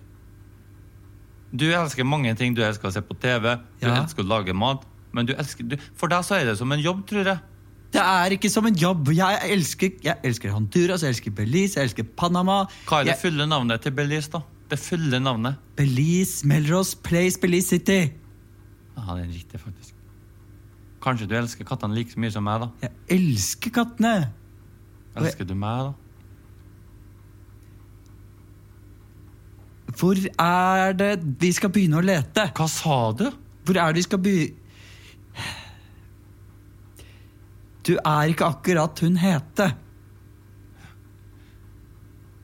Speaker 2: Du elsker mange ting. Du elsker å se på TV, du
Speaker 4: Ja.
Speaker 2: elsker å lage mat. Men du elsker, du, for deg så er det som en jobb, tror jeg.
Speaker 4: Det er ikke som en jobb. Jeg elsker, jeg elsker Honduras, jeg elsker Belize, jeg elsker Panama.
Speaker 2: Hva er det
Speaker 4: Jeg-
Speaker 2: fulle navnet til Belize, da? Det fulle navnet.
Speaker 4: Belize, Melrose Place, Belize City.
Speaker 2: Ja, det er riktig, faktisk. Kanskje du elsker kattene like mye som meg, da?
Speaker 4: Jeg elsker kattene.
Speaker 2: Elsker du meg, da?
Speaker 4: Hvor er det vi skal begynne å lete?
Speaker 2: Hva sa du?
Speaker 4: Hvor er det vi skal begynne Du er ikke akkurat hun hete.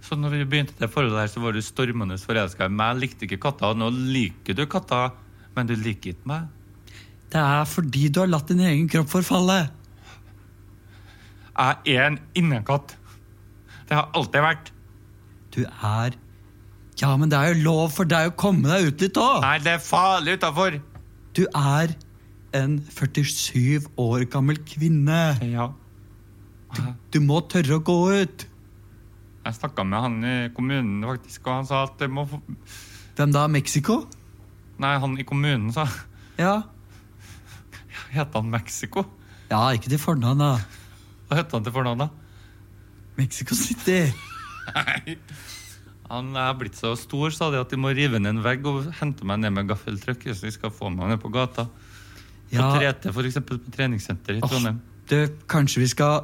Speaker 2: Så når vi begynte det forholdet her, så var du stormende forelska i meg. Likte ikke katter. Nå liker du katter, men du liker ikke meg.
Speaker 4: Det er fordi du har latt din egen kropp forfalle.
Speaker 2: Jeg er en innekatt. Det har alltid vært.
Speaker 4: Du er Ja, men det er jo lov for deg å komme deg ut litt òg.
Speaker 2: Nei, det er farlig utafor.
Speaker 4: Du er en 47 år gammel kvinne.
Speaker 2: Ja. Jeg,
Speaker 4: Du må tørre å gå ut.
Speaker 2: jeg snakka med han i kommunen, faktisk, og han sa at det må få
Speaker 4: Hvem da? Mexico?
Speaker 2: Nei, han i kommunen sa
Speaker 4: Ja.
Speaker 2: Het han Mexico?
Speaker 4: ja, ikke til fornavn, da.
Speaker 2: Hva het han til fornavn, da?
Speaker 4: Mexico City.
Speaker 2: Han er blitt så stor, sa de, at de må rive ned en vegg og hente meg ned med gaffeltrøkk. Så de skal få meg ned på gata. På
Speaker 4: Ja,
Speaker 2: 3T, for eksempel, på treningssenteret i
Speaker 4: Åh.
Speaker 2: Trondheim.
Speaker 4: du, kanskje vi skal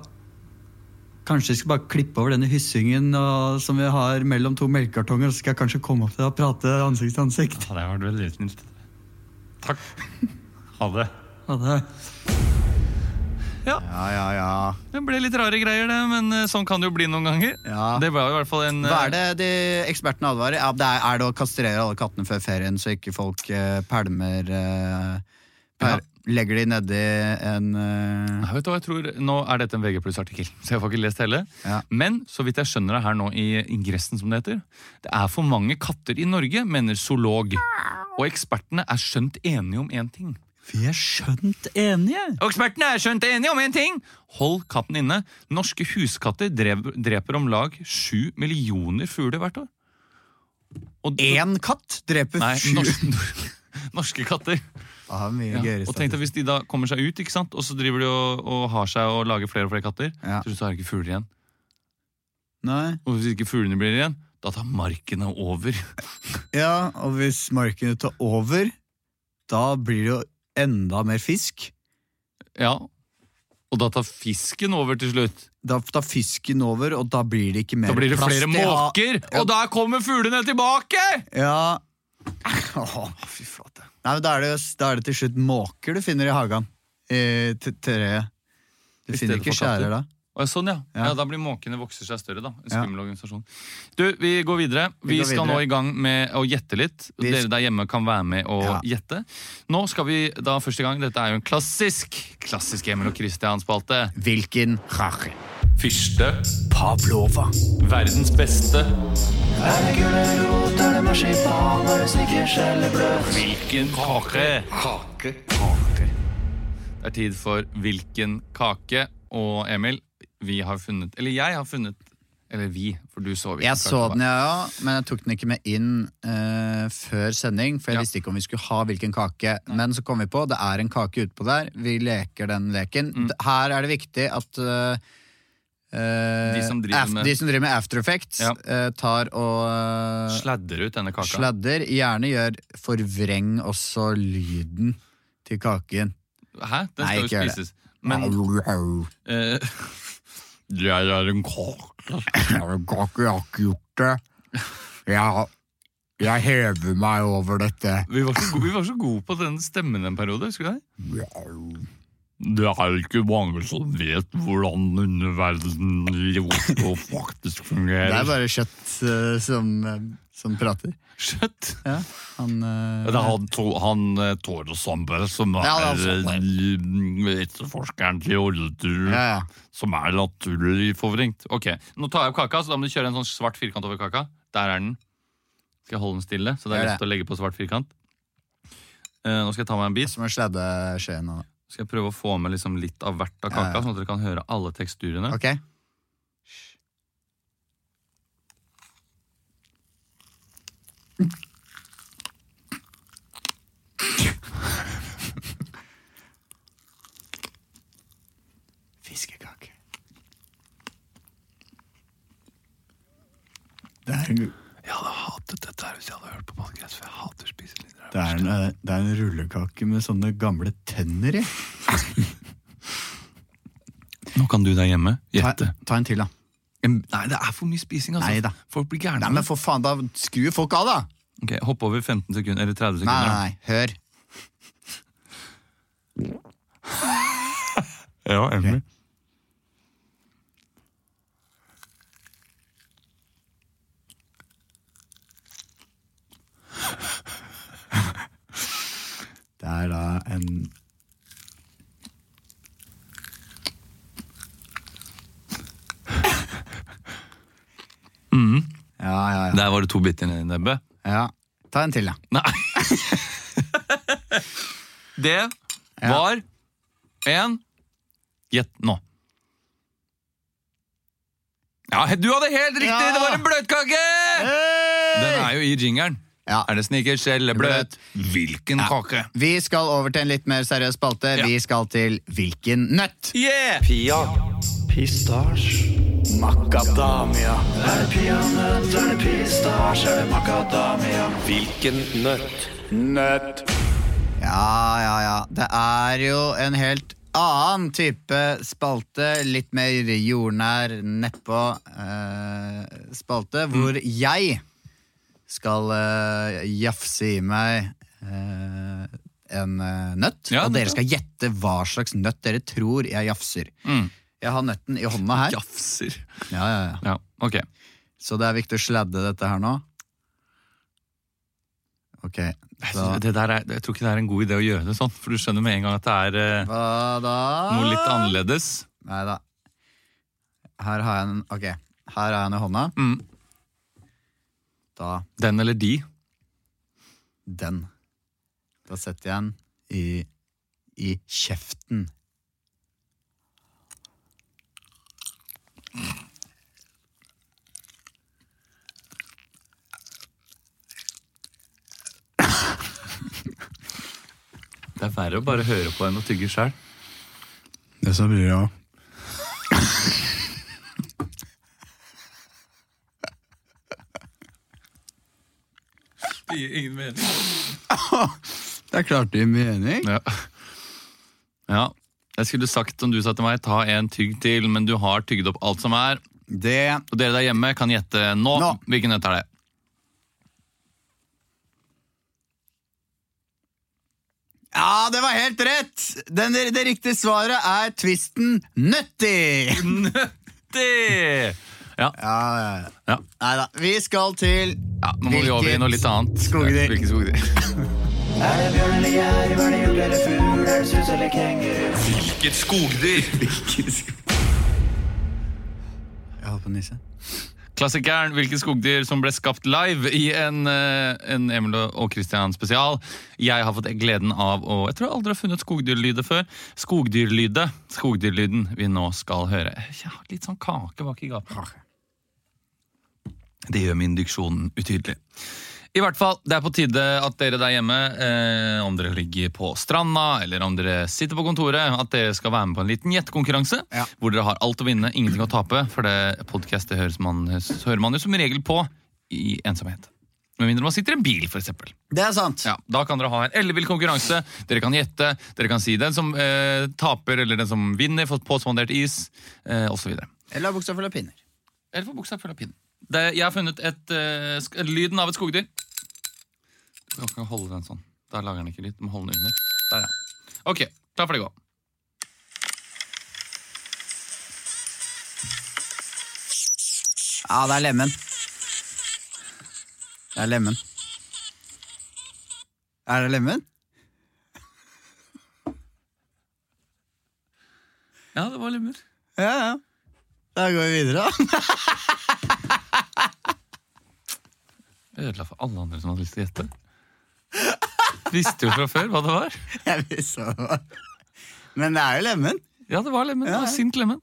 Speaker 4: Kanskje vi skal bare klippe over denne hyssingen og, som vi har mellom to melkekartonger, og så skal jeg kanskje komme opp til deg og prate ansikt til ansikt.
Speaker 2: Ja, det var veldig snilt. Takk. Ha det.
Speaker 4: Ha det. Ja, ja, ja.
Speaker 2: Det ble litt rare greier, det, men eh, sånn kan det jo bli noen ganger.
Speaker 4: Ja.
Speaker 2: Det var jo i hvert fall en eh,
Speaker 4: Hva er det de ekspertene advarer? Ja, det er, er det å kastrere alle kattene før ferien, så ikke folk eh, pælmer eh, per, Legger de nedi en eh,
Speaker 2: Ja, Vet du hva, jeg tror, Nå er dette en VG artikkel så jeg får ikke lest hele.
Speaker 4: Ja.
Speaker 2: Men så vidt jeg skjønner det her nå i ingressen, som det heter Det er for mange katter i Norge, mener zoolog. Og ekspertene er skjønt enige om én ting.
Speaker 4: Vi er skjønt enige!
Speaker 2: Og ekspertene er skjønt enige om én ting! Hold katten inne. Norske huskatter drev, dreper om lag sju millioner fugler hvert år. Og,
Speaker 4: Én katt dreper
Speaker 2: Nei,
Speaker 4: sju
Speaker 2: norske, norske katter.
Speaker 4: Ah, mye
Speaker 2: Ja.
Speaker 4: gøyere
Speaker 2: Og tenk deg
Speaker 4: statistikk.
Speaker 2: hvis de da kommer seg ut, ikke sant? og så driver de og, og har seg og lager flere og flere katter.
Speaker 4: Ja.
Speaker 2: Til slutt så er det ikke fugler igjen.
Speaker 4: Nei.
Speaker 2: Og hvis ikke fuglene blir igjen, da tar markene over.
Speaker 4: Ja, og hvis markene tar over, da blir det jo enda mer fisk.
Speaker 2: Ja. Og da tar fisken over til slutt.
Speaker 4: Da tar fisken over, og da blir det ikke mer
Speaker 2: Da blir det
Speaker 4: plass
Speaker 2: flere
Speaker 4: til ha-
Speaker 2: måker, og der kommer fuglene tilbake!
Speaker 4: Ja. Åh.
Speaker 2: Fy flate.
Speaker 4: Nei, men da er, det, jo- da er det til slutt måker du finner i hagen. I t- treet. Du
Speaker 2: I
Speaker 4: finner
Speaker 2: stedet
Speaker 4: ikke
Speaker 2: for katter.
Speaker 4: skjærer da.
Speaker 2: Og sånn, ja.
Speaker 4: Ja.
Speaker 2: ja. Da blir måkene vokser seg større, da. En
Speaker 4: Ja.
Speaker 2: skummel organisasjon. Du, vi går videre. Vi,
Speaker 4: Vi går
Speaker 2: skal
Speaker 4: videre.
Speaker 2: nå i gang med å gjette litt.
Speaker 4: Vi-
Speaker 2: Dere der hjemme kan være med og
Speaker 4: Ja.
Speaker 2: gjette. Nå skal vi da først i gang. Dette er jo en klassisk klassisk Emil og Christian-spalte.
Speaker 4: Hvilken rache?
Speaker 2: Fyrste.
Speaker 4: Pavlova.
Speaker 2: Verdens beste. Hvilken kake? Det er tid for Hvilken kake? Og Emil, vi har funnet Eller jeg har funnet Eller vi, for du så hvilken
Speaker 1: Jeg så
Speaker 2: kake det
Speaker 1: den,
Speaker 2: var.
Speaker 1: ja, ja, men jeg tok den ikke med inn eh, før sending, for jeg
Speaker 2: Ja.
Speaker 1: visste ikke om vi skulle ha hvilken kake. Men så kom vi på det er en kake utpå der. Vi leker den leken.
Speaker 2: Mm.
Speaker 1: D- Her er det viktig at eh, eh,
Speaker 2: De som driver
Speaker 1: af-
Speaker 2: med-
Speaker 1: de som driver med after effects,
Speaker 2: Ja.
Speaker 1: eh, tar og eh,
Speaker 2: Sladder ut denne kaka.
Speaker 1: sladder. Gjerne gjør forvreng også lyden til kaken.
Speaker 2: Hæ? Den
Speaker 1: Nei,
Speaker 2: skal jo
Speaker 1: ikke gjør det.
Speaker 2: spises. Men eh, Jeg er en kake.
Speaker 1: Kake, jeg har ikke gjort det. Jeg, jeg hever meg over dette.
Speaker 2: Vi var, så gode, vi var så gode på den stemmen en periode, husker du det? Det er ikke mange som vet hvordan underverdenen i Oslo faktisk fungerer.
Speaker 1: Det er bare kjøtt eh, som, eh, som prater.
Speaker 2: Kjøtt.
Speaker 1: Ja, han eh,
Speaker 2: Det er han, to, han eh, Tore Sandberg som er,
Speaker 1: Ja, det er han
Speaker 2: eh, etterforskeren til Oldetur,
Speaker 1: ja, ja.
Speaker 2: som er naturlig forvrengt. Ok, Nå tar jeg opp kaka, så da må du kjøre en sånn svart firkant over kaka. Der er den. Skal jeg holde den stille, så det er
Speaker 1: Gjør det.
Speaker 2: lett å legge på svart firkant. Eh, nå skal jeg ta meg en bit.
Speaker 1: Som å sladde skjeen og
Speaker 2: Skal jeg prøve å få med liksom litt av hvert av kaka,
Speaker 1: Ja, ja.
Speaker 2: sånn at dere kan høre alle teksturene.
Speaker 1: Ok. Fiskekake. Det er en,
Speaker 2: Jeg hadde hatet dette her hvis jeg hadde hørt på podkast, for jeg hater spiselister.
Speaker 1: det er en, eh, det er en rullekake med sånne gamle tenner i.
Speaker 2: Nå kan du der hjemme
Speaker 1: Ta,
Speaker 2: gjette.
Speaker 1: ta en til, da.
Speaker 2: Nei, det er for mye spising, altså.
Speaker 1: Neida.
Speaker 2: Folk blir gærne.
Speaker 1: Nei, men for faen, da skrur folk av, da!
Speaker 2: Ok, Hopp over 15 sekunder, eller 30
Speaker 1: Nei,
Speaker 2: sekunder.
Speaker 1: nei, nei. Hør.
Speaker 2: Ja, enig.
Speaker 1: Det er da en Mm. Ja, ja, ja.
Speaker 2: Der var det to biter nedi nebbet.
Speaker 1: ja. Ta en til, da.
Speaker 2: Nei! det var en Gjett nå. Ja, du hadde helt riktig!
Speaker 1: Ja!
Speaker 2: Det var en bløtkake! Den er jo i jingeren.
Speaker 1: Ja.
Speaker 2: Er det snickers eller bløt? Hvilken kake?
Speaker 1: Vi skal over til en litt mer seriøs spalte.
Speaker 2: Ja.
Speaker 1: Vi skal til Hvilken nøtt?
Speaker 2: Yeah!
Speaker 5: Pia. Pistasj. Makadamia. Er det peanøtt, er det pistasj, er det makadamia? Hvilken nøtt? Nøtt.
Speaker 1: Ja, ja, ja. Det er jo en helt annen type spalte. Litt mer jordnær, nedpå eh, spalte, hvor jeg skal eh, jafse i meg eh, en eh, nøtt.
Speaker 2: Ja,
Speaker 1: og
Speaker 2: det-
Speaker 1: dere skal gjette hva slags nøtt dere tror jeg jafser. Jeg har nøtten i hånda her.
Speaker 2: Jafser.
Speaker 1: Ja, ja, ja.
Speaker 2: Ja, ok.
Speaker 1: Så det er viktig å sladde dette her nå. Ok,
Speaker 2: Jeg
Speaker 1: så
Speaker 2: synes- Det der er, jeg tror ikke det er en god idé å gjøre det sånn, for du skjønner med en gang at det er eh,
Speaker 1: hva da?
Speaker 2: noe litt annerledes.
Speaker 1: Nei da. Her har jeg en Ok, her har jeg den i hånda.
Speaker 2: Mm.
Speaker 1: Da
Speaker 2: Den eller de.
Speaker 1: den. Da setter jeg den i, i kjeften.
Speaker 2: Det er verre å bare høre på enn å tygge sjøl.
Speaker 1: Det som blir av.
Speaker 2: Det gir ingen mening.
Speaker 1: Det er klart det gir mening.
Speaker 2: Ja. ja. Jeg skulle sagt som du sa til meg, ta en tygg til, men du har tygd opp alt som er.
Speaker 1: Det
Speaker 2: Og dere der hjemme kan gjette nå,
Speaker 1: Nå.
Speaker 2: hvilken nøtt er det.
Speaker 1: Ja, det var helt rett! Den, det riktige svaret er twisten nøtti!
Speaker 2: Det! Ja,
Speaker 1: Ja, ja, ja.
Speaker 2: ja.
Speaker 1: Nei da. Vi skal til
Speaker 2: ja Nå må vi over i noe litt annet.
Speaker 1: skogdyr?
Speaker 2: Hvilket skogdyr?
Speaker 5: Er det bjørn eller jerv, er det hjort eller fugl, er det sus eller kenguru?
Speaker 2: Hvilket skogdyr?
Speaker 1: Jeg holdt på å nisse.
Speaker 2: Klassikeren 'Hvilke skogdyr?' som ble skapt live i en, eh, en Emil og Christian spesial. Jeg har fått gleden av å Jeg tror jeg aldri har funnet skogdyrlyder før. Skogdyrlydet. Skogdyrlyden vi nå skal høre. Jeg har litt sånn kake bak i gapet. Det gjør min diksjon utydelig. I hvert fall, Det er på tide at dere der hjemme, eh, om dere ligger på stranda eller om dere sitter på kontoret, at dere skal være med på en liten gjettekonkurranse.
Speaker 1: Ja.
Speaker 2: Hvor dere har alt å vinne, ingenting å tape. For det podkastet høres man, hører man jo som regel på i ensomhet. Med mindre man sitter i en bil, f.eks.
Speaker 1: Det er sant.
Speaker 2: Ja, da kan dere ha en ellevill konkurranse. Dere kan gjette. Dere kan si den som eh, taper, eller den som vinner, får påspandert is, eh, osv.
Speaker 1: Eller har buksa full av pinner.
Speaker 2: Eller få buksa full av pinn. Det, jeg har funnet et, eh, sk- lyden av et skogdyr. Du kan ikke holde den sånn. Da lager den ikke lyd. Du må holde den under. Der, ja. Ok, klar for det gå.
Speaker 1: Ja, det er lemen. Det er lemen. Er det lemen?
Speaker 2: Ja, det var lemmer.
Speaker 1: Ja, ja. Da går vi videre, da.
Speaker 2: Jeg ødela for alle andre som hadde lyst til å gjette. Visste jo fra før hva det var.
Speaker 1: Jeg visste hva det var. Men det er jo lemen.
Speaker 2: Ja, det var lemmen. Det
Speaker 1: Ja,
Speaker 2: var
Speaker 1: ja.
Speaker 2: sint lemmen.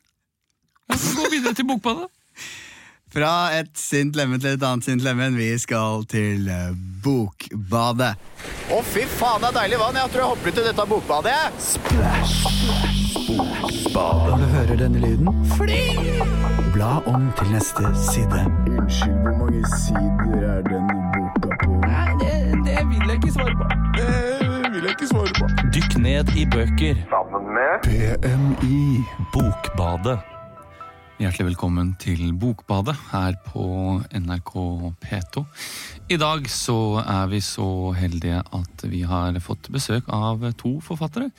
Speaker 2: Ja, så Gå videre til bokbadet.
Speaker 1: Fra et sint lemen til et annet sint lemen. Vi skal til eh, Bokbadet. Å, fy faen, det er deilig vann. Jeg tror jeg hopper ut i dette bokbadet. Når du hører denne lyden, fly! Bla om til neste side.
Speaker 6: Unnskyld, hvor mange sider er denne boka på?
Speaker 3: Dykk ned i bøker.
Speaker 6: BMI.
Speaker 3: Bokbadet.
Speaker 2: Hjertelig velkommen til Bokbadet her på NRK P2. I dag så er vi så heldige at vi har fått besøk av to forfattere.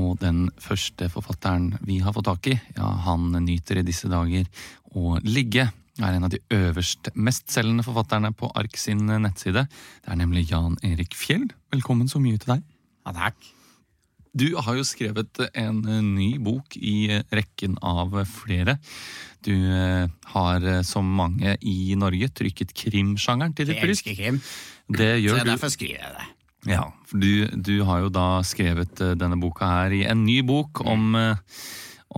Speaker 2: Og den første forfatteren vi har fått tak i, ja, han nyter i disse dager å ligge. Er en av de øverst mestselgende forfatterne på Ark sin nettside. Det er nemlig Jan Erik Fjell. Velkommen så mye til deg.
Speaker 1: Ja, takk.
Speaker 2: Du har jo skrevet en eh, ny bok i eh, rekken av eh, flere. Du eh, har, eh, som mange i Norge, trykket krimsjangeren til ditt
Speaker 1: Jeg
Speaker 2: bryst.
Speaker 1: elsker krim.
Speaker 2: Det
Speaker 1: Så
Speaker 2: gjør du.
Speaker 1: derfor skriver jeg det.
Speaker 2: Ja, for du, du har jo da skrevet eh, denne boka her i en ny bok
Speaker 1: Mm.
Speaker 2: om, eh,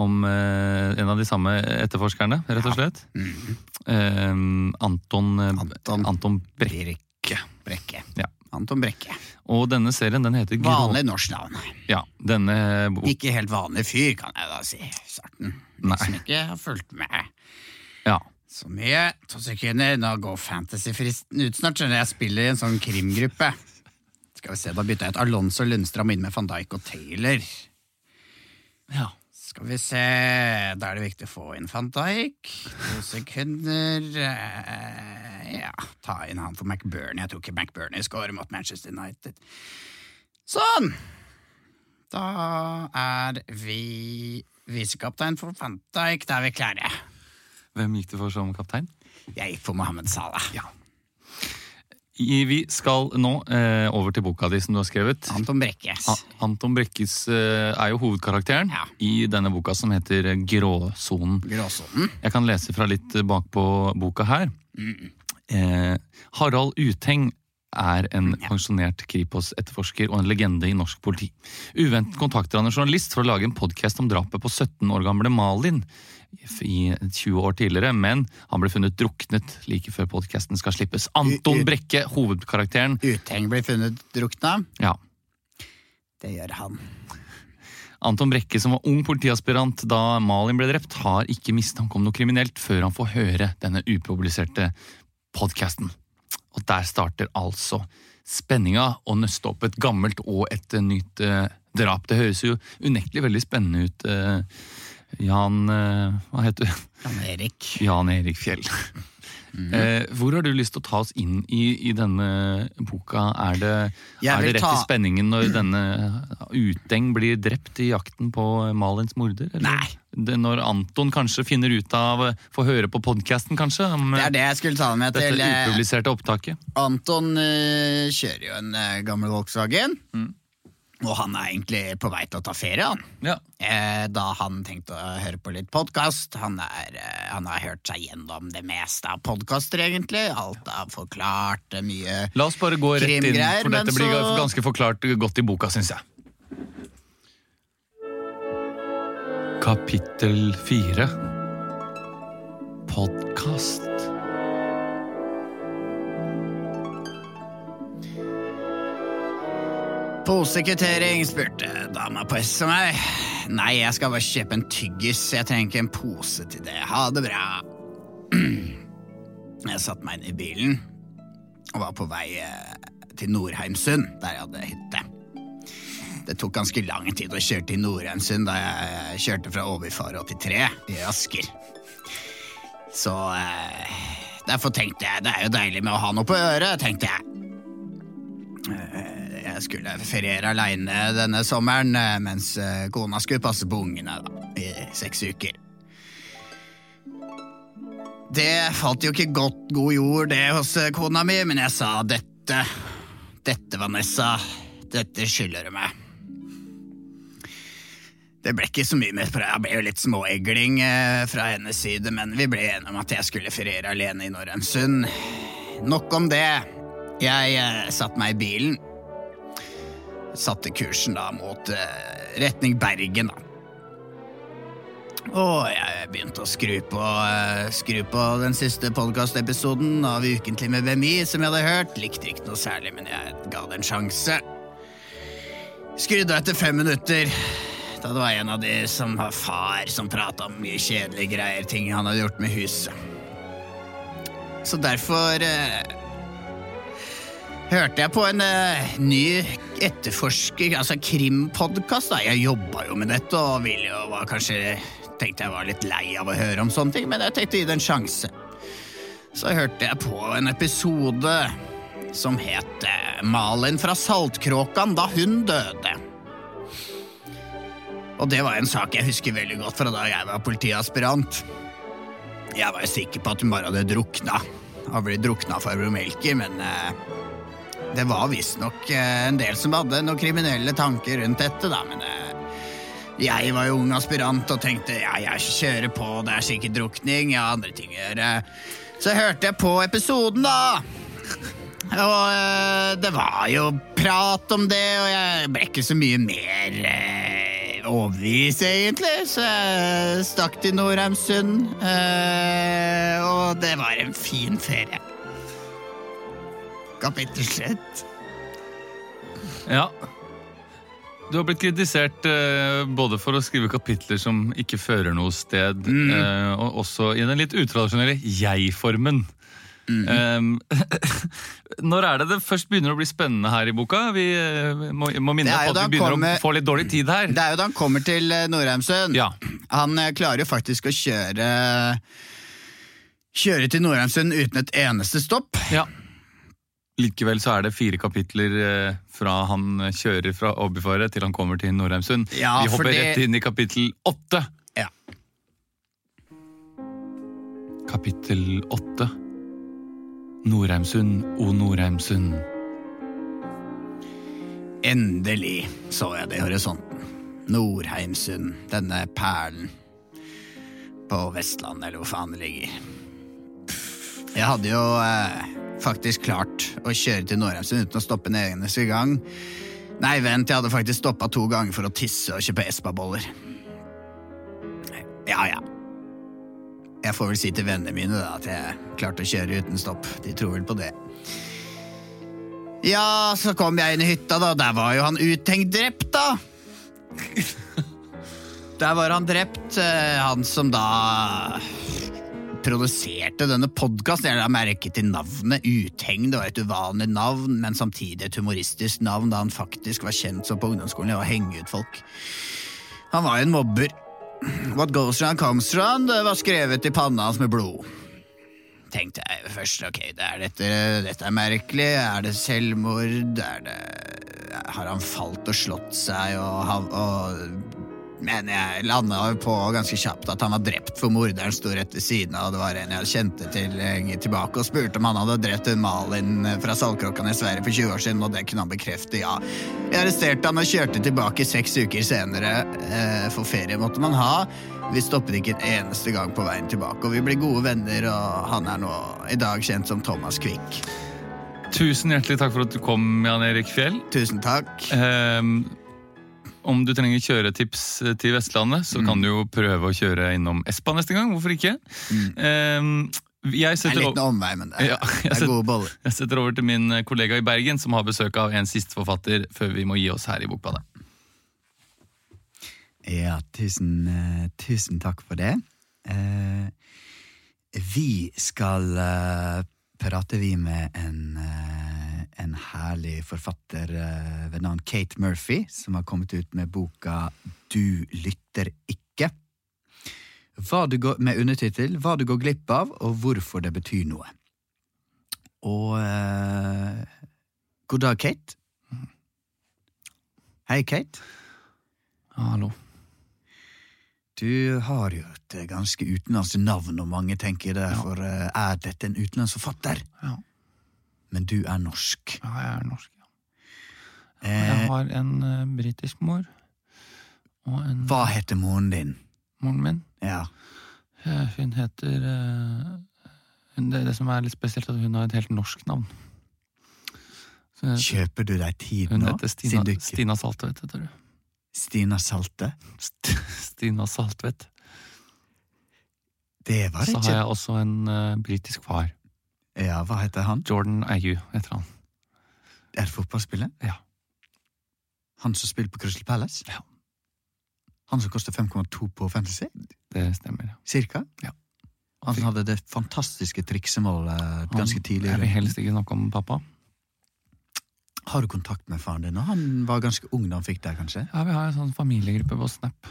Speaker 2: om eh, en av de samme etterforskerne, rett og slett. Eh, Anton, eh,
Speaker 1: Mm. Anton.
Speaker 2: Anton Brekke.
Speaker 1: Brekke. Brekke.
Speaker 2: Ja.
Speaker 1: Anton Brekke.
Speaker 2: Og denne serien den heter Grå-
Speaker 1: Vanlig norsk navn.
Speaker 2: Ja, denne bo-
Speaker 1: Ikke helt vanlig fyr, kan jeg da si. i Starten.
Speaker 2: Nei.
Speaker 1: De som ikke har fulgt med
Speaker 2: Ja.
Speaker 1: så mye. To sekunder, nå går fantasyfristen ut snart. Skjønner jeg spiller i en sånn krimgruppe. Skal vi se, da bytter jeg ut Alonso Lundstrøm inn med van Dijk og Taylor.
Speaker 2: ja.
Speaker 1: Skal vi se, da er det viktig å få inn van Dijk. To sekunder eh, Ja, ta inn han for McBurney. Jeg tror ikke McBurney scorer mot Manchester United. Sånn! Da er vi visekaptein for van Dijk. Da er vi klare.
Speaker 2: Hvem gikk du for som kaptein?
Speaker 1: Jeg gikk for Mohammed Salah.
Speaker 2: I- Vi skal nå eh, over til boka di som du har skrevet.
Speaker 1: Anton Brekkes.
Speaker 2: A- Anton Brekkes eh, er jo hovedkarakteren
Speaker 1: Ja.
Speaker 2: i denne boka som heter eh, Gråsonen.
Speaker 1: Gråsonen.
Speaker 2: Jeg kan lese fra litt eh, bakpå boka her. Eh, Harald Uteng er en pensjonert Kripos-etterforsker og en legende i norsk politi. Uventet kontakter han en journalist for å lage en podkast om drapet på 17 år gamle Malin i 20 år tidligere, men han ble funnet druknet like før podkasten skal slippes. Anton Brekke, hovedkarakteren.
Speaker 1: Utheng blir funnet drukna.
Speaker 2: Ja,
Speaker 1: Det gjør han.
Speaker 2: Anton Brekke, som var ung politiaspirant da Malin ble drept, har ikke mistanke om noe kriminelt før han får høre denne upubliserte podkasten. Og der starter altså spenninga å nøste opp et gammelt og et eh, nytt eh, drap. Det høres jo unektelig veldig spennende ut. Eh, Jan eh, Hva heter du?
Speaker 1: Jan Erik.
Speaker 2: Jan Erik Fjell.
Speaker 1: Mhm.
Speaker 2: Eh, hvor har du lyst til å ta oss inn i, i denne boka? Er det,
Speaker 1: Jeg
Speaker 2: er det
Speaker 1: vil
Speaker 2: rett
Speaker 1: ta-
Speaker 2: i spenningen når denne Uteng blir drept i jakten på Malins morder? Eller?
Speaker 1: Nei.
Speaker 2: Det, når Anton kanskje finner ut av Får høre på podkasten, kanskje? Om
Speaker 1: Det
Speaker 2: eh,
Speaker 1: er det jeg skulle ta med
Speaker 2: dette
Speaker 1: til eh,
Speaker 2: upubliserte opptaket?
Speaker 1: Anton eh, kjører jo en eh, gammel Volkswagen. Og han er egentlig på vei til å ta ferie, han.
Speaker 2: Ja.
Speaker 1: Eh, da han tenkte å høre på litt podkast. Han, er, eh, han har hørt seg gjennom det meste av podkaster, egentlig. Alt er forklart, det er mye
Speaker 2: La oss bare gå rett inn,
Speaker 1: Krimgreier,
Speaker 2: for
Speaker 1: men
Speaker 2: dette blir
Speaker 1: så-
Speaker 2: ganske forklart godt i boka, syns jeg. Kapittel fire. Podkast.
Speaker 1: Posekvittering, spurte dama på S og meg. Nei, jeg skal bare kjøpe en tyggis. Jeg trenger ikke en pose til det. Ha det bra. Jeg satte meg inn i bilen og var på vei eh, til Nordheimsund, der jeg hadde hytte. Det tok ganske lang tid å kjøre til Nordheimsund da jeg eh, kjørte fra Overfar 83 i Asker. Så eh, derfor tenkte jeg det er jo deilig med å ha noe på øret, tenkte jeg. Jeg skulle feriere aleine denne sommeren eh, mens eh, kona skulle passe på ungene da, i seks uker. Det falt jo ikke godt god jord, det hos eh, kona mi, men jeg sa dette. Dette, Vanessa, dette skylder du meg. Det ble ikke så mye mer fra Jeg ble jo litt småegling eh, fra hennes side, men vi ble enige om at jeg skulle feriere alene i Norheimsund. Nok om det. Jeg eh, satte meg i bilen satte kursen da mot eh, retning Bergen, da. Og jeg begynte å skru på, eh, skru på den siste podkastepisoden av Ukentlig med BMI, som jeg hadde hørt. Likte ikke noe særlig, men jeg ga det en sjanse. Skrudde av etter fem minutter. Da det var en av de som har far, som prata om mye kjedelige greier, ting han hadde gjort med huset. Så derfor eh, hørte jeg på en eh, ny etterforsker, altså krimpodkast. da. Jeg jobba jo med dette og ville jo var kanskje tenkte jeg var litt lei av å høre om sånne ting, men jeg tenkte å gi det en sjanse. Så hørte jeg på en episode som het eh, Malin fra Saltkråkan da hun døde. Og det var en sak jeg husker veldig godt fra da jeg var politiaspirant. Jeg var jo sikker på at hun bare hadde drukna. Hadde blitt drukna for Bromelki, men eh, det var visstnok eh, en del som hadde noen kriminelle tanker rundt dette, da, men eh, jeg var jo ung aspirant og tenkte ja, jeg kjører på, det er sikkert drukning, jeg har andre ting å gjøre. Så hørte jeg på episoden, da. Og eh, det var jo prat om det, og jeg ble ikke så mye mer eh, overbevist, egentlig. Så jeg stakk til Norheimsund, eh, og det var en fin ferie. Kapittel slutt.
Speaker 2: Ja. Du har blitt kritisert eh, både for å skrive kapitler som ikke fører noe sted,
Speaker 1: Mm.
Speaker 2: eh, og også i den litt utradisjonelle jeg-formen.
Speaker 1: Mm.
Speaker 2: Eh, når er det det først begynner å bli spennende her i boka? Vi eh, må, må minne
Speaker 1: Det er jo
Speaker 2: på at
Speaker 1: da
Speaker 2: vi begynner
Speaker 1: kommer-
Speaker 2: å få litt dårlig tid her.
Speaker 1: Det er jo da han kommer til eh, Norheimsund.
Speaker 2: Ja.
Speaker 1: Han eh, klarer jo faktisk å kjøre Kjøre til Norheimsund uten et eneste stopp.
Speaker 2: Ja. Likevel så er det fire kapitler eh, fra han kjører fra Åbyfare til han kommer til Norheimsund.
Speaker 1: Ja,
Speaker 2: Vi hopper
Speaker 1: fordi-
Speaker 2: rett inn i kapittel åtte.
Speaker 1: Ja.
Speaker 2: Kapittel åtte. Norheimsund, o Norheimsund.
Speaker 1: Endelig så jeg det i horisonten. Norheimsund, denne perlen på Vestlandet, eller hvor faen det ligger. Jeg hadde jo eh, faktisk klart å kjøre til Norheimsund uten å stoppe en eneste gang. Nei, vent, jeg hadde faktisk stoppa to ganger for å tisse og kjøpe Espa-boller. Ja, ja. Jeg får vel si til vennene mine da at jeg klarte å kjøre uten stopp. De tror vel på det. Ja, så kom jeg inn i hytta, da. Der var jo han uttenkt drept, da. Der var han drept, eh, han som da produserte denne podkasten. Jeg la merke til navnet Utheng. Det var et uvanlig navn, men samtidig et humoristisk navn, da han faktisk var kjent som på ungdomsskolen det var å henge ut folk. Han var jo en mobber. What goes round comes round det var skrevet i panna hans med blod tenkte jeg først ok, det er dette, dette er merkelig. Er det selvmord? Er det, har han falt og slått seg og, hav- og Men jeg landa jo på ganske kjapt at han var drept, for morderen sto rett ved siden av. og Det var en jeg kjente til lenge tilbake, og spurte om han hadde drept hun Malin fra Saltkråkan i Sverige for 20 år siden, og det kunne han bekrefte, ja. Jeg arresterte han og kjørte tilbake seks uker senere, eh, for ferie måtte man ha. Vi stoppet ikke en eneste gang på veien tilbake, og vi ble gode venner, og han er nå i dag kjent som Thomas Quick.
Speaker 2: Tusen hjertelig takk for at du kom, Jan Erik Fjell.
Speaker 1: Tusen takk.
Speaker 2: Ehm, om du trenger kjøretips eh, til Vestlandet, så
Speaker 1: Mm.
Speaker 2: kan du jo prøve å kjøre innom Espa neste gang. Hvorfor ikke? Ehm, jeg,
Speaker 1: Det er Mm. en
Speaker 2: setter
Speaker 1: liten
Speaker 2: over,
Speaker 1: omvei, men det er,
Speaker 2: Ja, jeg
Speaker 1: det er
Speaker 2: ser-
Speaker 1: gode boller.
Speaker 2: jeg setter over til min eh, kollega i Bergen, som har besøk av en siste forfatter før vi må gi oss her i Bokbadet.
Speaker 1: Ja, tusen, eh, tusen takk for det. Eh, vi skal eh, prate vi med en, eh, en herlig forfatter eh, ved navn Kate Murphy, som har kommet ut med boka Du lytter ikke. Hva du går, med undertittel Hva du går glipp av, og hvorfor det betyr noe. Og eh, god dag, Kate. Hei, Kate.
Speaker 2: Hallo.
Speaker 1: Du har jo et ganske utenlandsk navn, og mange tenker derfor eh, er dette en utenlandsk forfatter.
Speaker 2: Ja.
Speaker 1: Men du er norsk.
Speaker 2: Ja, jeg er norsk. Ja.
Speaker 1: Eh,
Speaker 2: har en uh, britisk mor. Og en
Speaker 1: hva heter moren din?
Speaker 2: moren min.
Speaker 1: Ja.
Speaker 2: Eh, Hun heter eh, hun- det, det som er litt spesielt, er at hun har et helt norsk navn. Så hun-
Speaker 1: Kjøper du deg tid
Speaker 2: hun
Speaker 1: nå?
Speaker 2: heter Stina,
Speaker 1: siden du ikke-
Speaker 2: Stina Saltvedt, heter du.
Speaker 1: Stina Salte?
Speaker 2: St Stina Saltvedt.
Speaker 1: Det var
Speaker 2: Så
Speaker 1: det
Speaker 2: har
Speaker 1: ikke.
Speaker 2: jeg også en uh, britisk far.
Speaker 1: Ja, hva heter han?
Speaker 2: Jordan Ayu heter han.
Speaker 1: Er det fotballspiller?
Speaker 2: Ja.
Speaker 1: Han som spiller på Crystal Palace?
Speaker 2: Ja.
Speaker 1: Han som koster 5,2 på fantasy?
Speaker 2: Det stemmer. ja.
Speaker 1: Cirka?
Speaker 2: Ja.
Speaker 1: Han som hadde det fantastiske triksemålet eh, ganske tidlig. i
Speaker 2: Jeg vil
Speaker 1: runden.
Speaker 2: helst ikke snakke om pappa.
Speaker 1: Har du kontakt med faren din? Og Han var ganske ung da han fikk deg, kanskje?
Speaker 2: Ja, Vi har en sånn familiegruppe på Snap.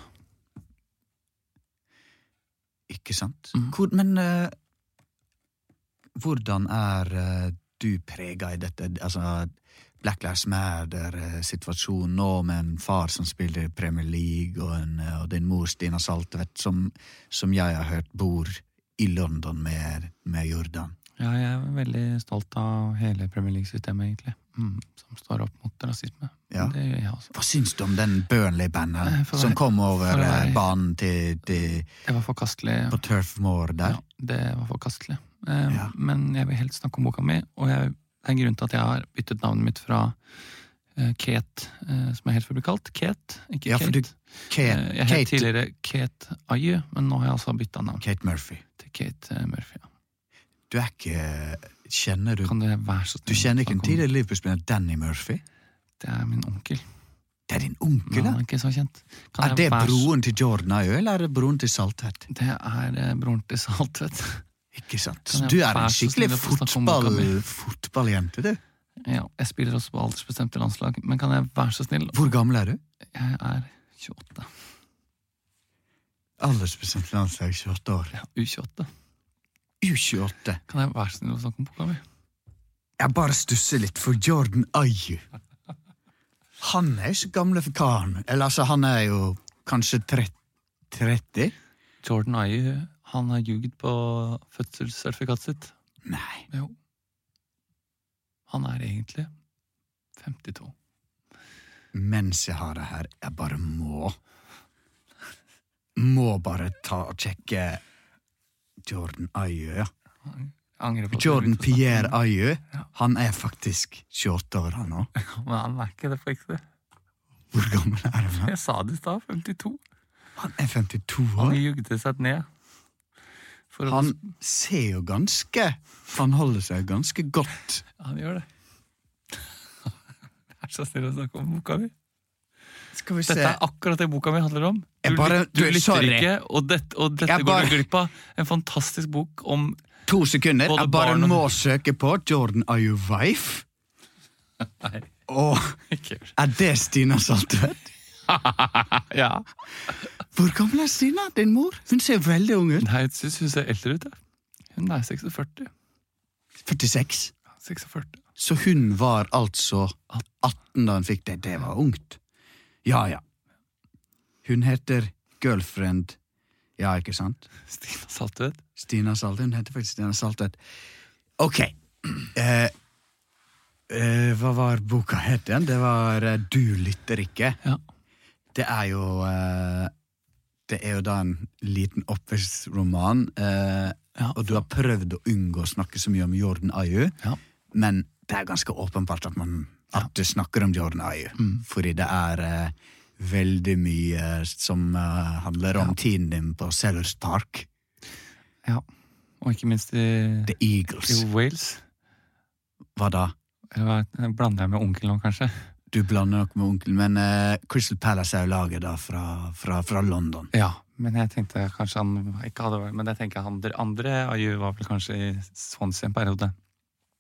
Speaker 1: Ikke sant?
Speaker 2: Mm.
Speaker 1: Hvor, men eh, hvordan er eh, du prega i dette? Altså, Black Lives Matter-situasjonen nå med en far som spiller i Premier League, og, en, eh, og din mor Stina Saltvedt, som, som jeg har hørt bor i London med, med Jordan.
Speaker 2: Ja, jeg er veldig stolt av hele Premier League-systemet, egentlig. Mm, som står opp mot rasisme.
Speaker 1: Ja.
Speaker 2: Det gjør jeg også.
Speaker 1: Hva syns du om den Burnley-bandet
Speaker 2: Eh, for å
Speaker 1: som
Speaker 2: være-
Speaker 1: kom over
Speaker 2: for å være-
Speaker 1: eh, banen til, til,
Speaker 2: Det var forkastelig.
Speaker 1: på Turf Moor der?
Speaker 2: Ja, det var forkastelig. Eh,
Speaker 1: Ja.
Speaker 2: Men jeg vil helst snakke om boka mi, og jeg, det er en grunn til at jeg har byttet navnet mitt fra eh, Kate, eh, som jeg helt før ble kalt. Kate, ikke
Speaker 1: Ja, for
Speaker 2: Kate.
Speaker 1: du- Kate,
Speaker 2: Eh, jeg het
Speaker 1: Kate,
Speaker 2: tidligere Kate Ayu, men nå har jeg altså bytta navn
Speaker 1: Kate Murphy.
Speaker 2: til Kate eh, Murphy. ja.
Speaker 1: Du er ikke Kjenner du
Speaker 2: Kan det være så
Speaker 1: Du kjenner ikke den
Speaker 2: snakke om-
Speaker 1: tidligere Liverpool-spilleren Danny Murphy?
Speaker 2: Det er min onkel.
Speaker 1: Det er din
Speaker 2: Men
Speaker 1: onkel,
Speaker 2: han
Speaker 1: da!
Speaker 2: er ikke så kjent. Kan
Speaker 1: Er
Speaker 2: jeg
Speaker 1: det
Speaker 2: være så-
Speaker 1: broren til Jordan Ayø, eller er det broren til Saltvedt?
Speaker 2: Det er eh, broren til Saltvedt.
Speaker 1: Ikke sant?
Speaker 2: Kan jeg
Speaker 1: Du er
Speaker 2: være
Speaker 1: en
Speaker 2: så
Speaker 1: skikkelig
Speaker 2: snill å få snakke om
Speaker 1: fotball,
Speaker 2: boka mi?
Speaker 1: fotballjente, du.
Speaker 2: Ja, jeg spiller også på aldersbestemte landslag, men kan jeg være så snill?
Speaker 1: Hvor gammel er du?
Speaker 2: Jeg er 28.
Speaker 1: Aldersbestemt landslag 28 år.
Speaker 2: Ja, U28.
Speaker 1: U28.
Speaker 2: Kan jeg være så snill å snakke om boka mi?
Speaker 1: Jeg bare stusser litt for Jordan Ayø. Han er jo så gamle for karen. Eller altså, han er jo kanskje tre- 30?
Speaker 2: Jordan Ayu han har ljuget på fødselssertifikatet sitt.
Speaker 1: Nei.
Speaker 2: Jo. Han er egentlig 52.
Speaker 1: mens jeg har det her, jeg bare må Må bare ta og sjekke Jordan Ayø, ja.
Speaker 2: Jeg angrer på at jeg
Speaker 1: Jordan
Speaker 2: begynte å snakke om
Speaker 1: Pierre
Speaker 2: det.
Speaker 1: Ayø.
Speaker 2: Ja.
Speaker 1: Han er faktisk 28 år, han òg.
Speaker 2: Men han er ikke det på ekte.
Speaker 1: Hvor gammel er han? da?
Speaker 2: Jeg sa det i stad. 52.
Speaker 1: Han er 52
Speaker 2: Han
Speaker 1: år.
Speaker 2: jugde seg ned. For
Speaker 1: Han ser jo ganske Han holder seg ganske godt.
Speaker 2: Å, han gjør det. Vær så snill å snakke om boka mi.
Speaker 1: Skal vi se
Speaker 2: Dette er akkurat det boka mi handler om. Du,
Speaker 1: Jeg bare-
Speaker 2: lyt-
Speaker 1: du,
Speaker 2: du, lytter
Speaker 1: sorry.
Speaker 2: ikke, og, det, og dette
Speaker 1: Jeg
Speaker 2: går
Speaker 1: bare-
Speaker 2: du glipp av. En fantastisk bok om
Speaker 1: To sekunder.
Speaker 2: Både
Speaker 1: Jeg bare
Speaker 2: barn og-
Speaker 1: må søke på Jordan Ayø wife.
Speaker 2: Nei,
Speaker 1: Og
Speaker 2: ikke gjør det.
Speaker 1: er det Stina Saltvedt?
Speaker 2: Ja.
Speaker 1: Hvor gammel er Stina, din mor? Hun ser veldig ung ut.
Speaker 2: Nei, jeg syns hun ser eldre ut. Jeg. Hun er 46.
Speaker 1: 46.
Speaker 2: 46.
Speaker 1: Så hun var altså 18 da hun fikk det. Det var ungt. Ja, ja. Hun heter Girlfriend. Ja, ikke sant?
Speaker 2: Stina Saltvedt.
Speaker 1: Stina Saltvedt. Hun heter faktisk Stina Saltvedt. Ok. Eh, eh, hva var boka het igjen? Det var eh, Du lytter ikke.
Speaker 2: Ja.
Speaker 1: Det er jo eh, Det er jo da en liten oppvekstraman, eh,
Speaker 2: Ja.
Speaker 1: og du har prøvd å unngå å snakke så mye om Jordan Ayu,
Speaker 2: Ja.
Speaker 1: men det er ganske åpenbart at, man, at du snakker om Jordan Ayu,
Speaker 2: Mm.
Speaker 1: fordi det er eh, veldig mye som eh, handler om tiden din på Sellers Park.
Speaker 2: ja. Og ikke minst i,
Speaker 1: The
Speaker 2: i
Speaker 1: Eagles.
Speaker 2: Wales.
Speaker 1: Hva da?
Speaker 2: Eller hva, den blander jeg med onkel nå, kanskje?
Speaker 1: Du blander nok med onkelen, men eh, Crystal Palace er jo laget da fra, fra, fra London.
Speaker 2: Ja, men jeg tenkte kanskje han ikke hadde vært Men jeg tenker han der andre Ayu var vel kanskje i Swansea en periode.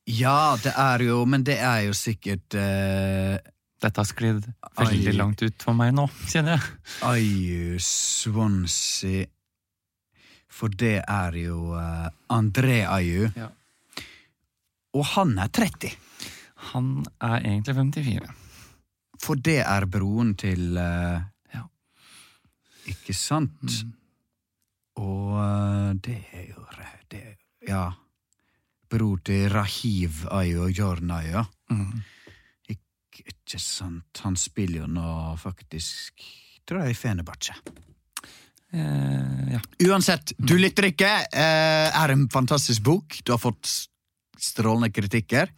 Speaker 1: Ja, det er jo Men det er jo sikkert eh,
Speaker 2: Dette har sklidd veldig
Speaker 1: Ayu.
Speaker 2: langt ut for meg nå, kjenner jeg.
Speaker 1: Ayu Swansea For det er jo eh, André Ayu.
Speaker 2: Ja.
Speaker 1: Og han er 30,
Speaker 2: Han er egentlig 54.
Speaker 1: for det er broen til eh,
Speaker 2: Ja.
Speaker 1: Ikke sant? Og eh, det er jo re- det, Ja. Bror til Rahiv Ayu og Jorn Ayu.
Speaker 2: Mm.
Speaker 1: Ikke, ikke sant? Han spiller jo nå faktisk Tror jeg i Fenebache.
Speaker 2: Eh, ja.
Speaker 1: Uansett, Du lytter ikke eh, er en fantastisk bok. Du har fått s- strålende kritikker.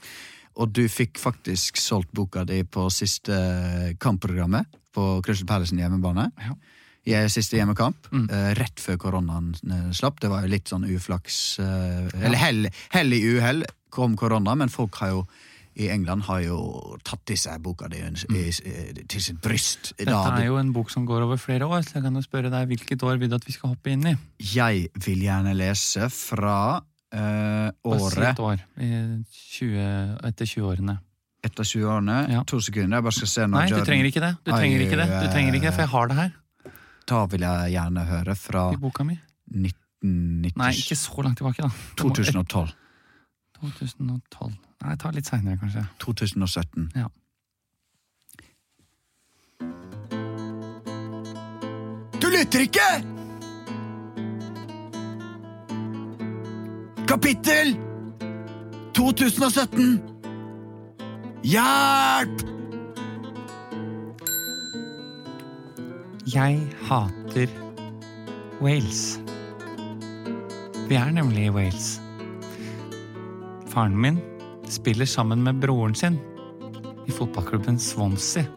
Speaker 1: Og du fikk faktisk solgt boka di på siste kampprogrammet på Crystal Palace sin hjemmebane.
Speaker 2: Ja.
Speaker 1: I eh, siste hjemmekamp,
Speaker 2: Mm.
Speaker 1: eh, rett før koronaen eh, slapp. Det var jo litt sånn uflaks eh, Eller hell, hell i uhell kom korona, men folk har jo i England har jo tatt i seg boka di i, i, til sitt bryst.
Speaker 2: Mm. Dette er jo en bok som går over flere år, så jeg kan jo spørre deg hvilket år vil du at vi skal hoppe inn i?
Speaker 1: Jeg vil gjerne lese fra eh,
Speaker 2: Bare si
Speaker 1: året
Speaker 2: et år. I 20, etter 20-årene.
Speaker 1: etter 20-årene.
Speaker 2: Ja.
Speaker 1: To sekunder, jeg bare skal se når
Speaker 2: Nei, du
Speaker 1: Jordan-
Speaker 2: trenger ikke det. Du trenger ikke det, du trenger ikke det for jeg har det her
Speaker 1: Da vil jeg gjerne høre fra
Speaker 2: i boka mi.
Speaker 1: 1990
Speaker 2: Nei, ikke så langt tilbake, da. Det må-
Speaker 1: 2012.
Speaker 2: 2012. Nei, ta litt seinere, kanskje.
Speaker 1: 2017.
Speaker 2: Ja.
Speaker 1: Du lytter ikke! Kapittel 2017. Hjelp!
Speaker 2: Jeg hater Wales. Vi er nemlig i Wales. Faren min spiller sammen med broren sin i fotballklubben Swansea.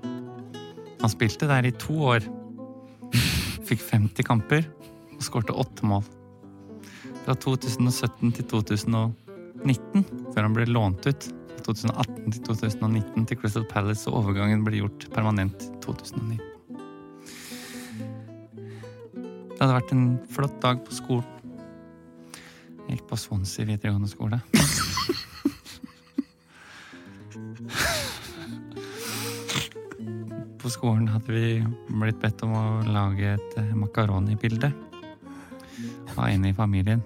Speaker 2: Han spilte der i to år. Fikk 50 kamper og skårte åtte mål. Fra 2017 til 2019, før han ble lånt ut. Fra 2018 til 2019 til Crystal Palace, og overgangen ble gjort permanent i 2019. Det hadde vært en flott dag på skolen. Jeg gikk på Swansea videregående skole. på skolen hadde vi blitt bedt om å lage et eh, makaronibilde av en i familien.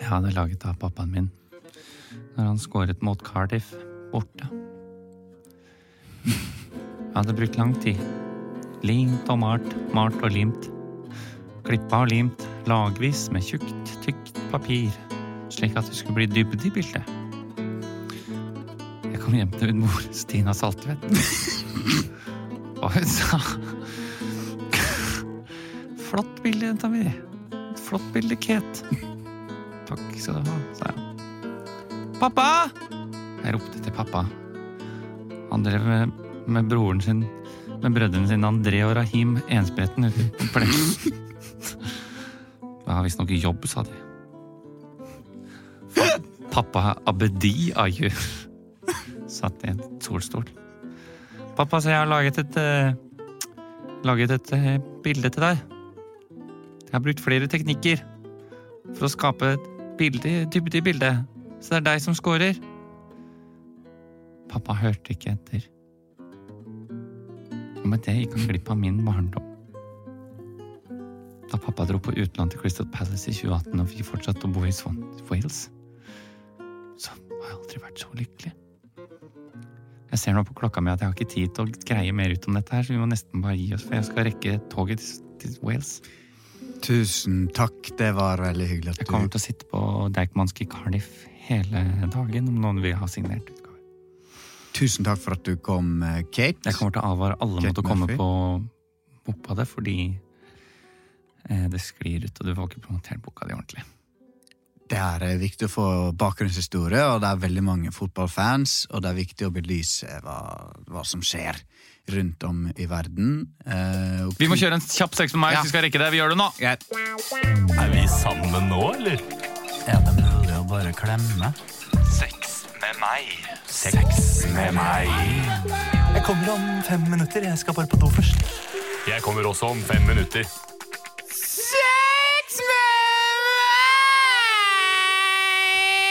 Speaker 2: Jeg hadde laget det av pappaen min når han skåret mot Cardiff borte. Jeg hadde brukt lang tid. Limt og malt, malt og limt. Klippa og limt lagvis med tjukt, tykt papir, slik at det skulle bli dybde i bildet. Jeg kom hjem til min mor, Stina Saltvedt, og hun sa Flott bilde, jenta mi. Et Flott bilde, Kate. Takk skal du ha, sa jeg. Pappa! Jeg ropte til pappa. Han drev med, med broren sin, med brødrene sine André og Rahim Enspretten ute på plenen. Jeg har visstnok jobb, sa de. Fa- Pappa Abedi Ayu satt i en solstol. Pappa, så jeg har laget et eh, laget et eh, bilde til deg. Jeg har brukt flere teknikker for å skape et bilde, dybde i bildet. Så det er deg som scorer. Pappa hørte ikke etter. Og med det gikk han glipp av min barndom. Da pappa dro på utenland til Crystal Palace i 2018 og vi fortsatte å bo i Swan Wales, så har jeg aldri vært så lykkelig. Jeg ser ser nå på klokka mi at jeg har ikke tid til å greie mer ut om dette her, så vi må nesten bare gi oss, for jeg skal rekke toget til, til Wales.
Speaker 1: Tusen takk, det var veldig hyggelig at
Speaker 2: Jeg
Speaker 1: du
Speaker 2: kommer til å sitte på Deichmansk i Cardiff hele dagen om noen vil ha signert utgave.
Speaker 1: Tusen takk for at du kom, eh, Kate.
Speaker 2: Jeg kommer til å advare alle mot
Speaker 1: Kate
Speaker 2: å komme
Speaker 1: Murphy.
Speaker 2: på boka det, fordi eh, det sklir ut, og du får ikke promotert boka di ordentlig.
Speaker 1: Det er eh, viktig å få bakgrunnshistorie, og det er veldig mange fotballfans, og det er viktig å belyse hva, hva som skjer rundt om i verden. Eh, og-
Speaker 2: Vi må kjøre en kjapp seks med meg hvis vi skal rekke det. Vi gjør det nå!
Speaker 1: Greit.
Speaker 3: Er vi sammen nå, eller?
Speaker 1: Er det mulig å bare klemme?
Speaker 3: Sex med meg. Sex med meg.
Speaker 7: Jeg kommer om fem minutter. Jeg skal bare på do først.
Speaker 3: Jeg kommer også om fem minutter.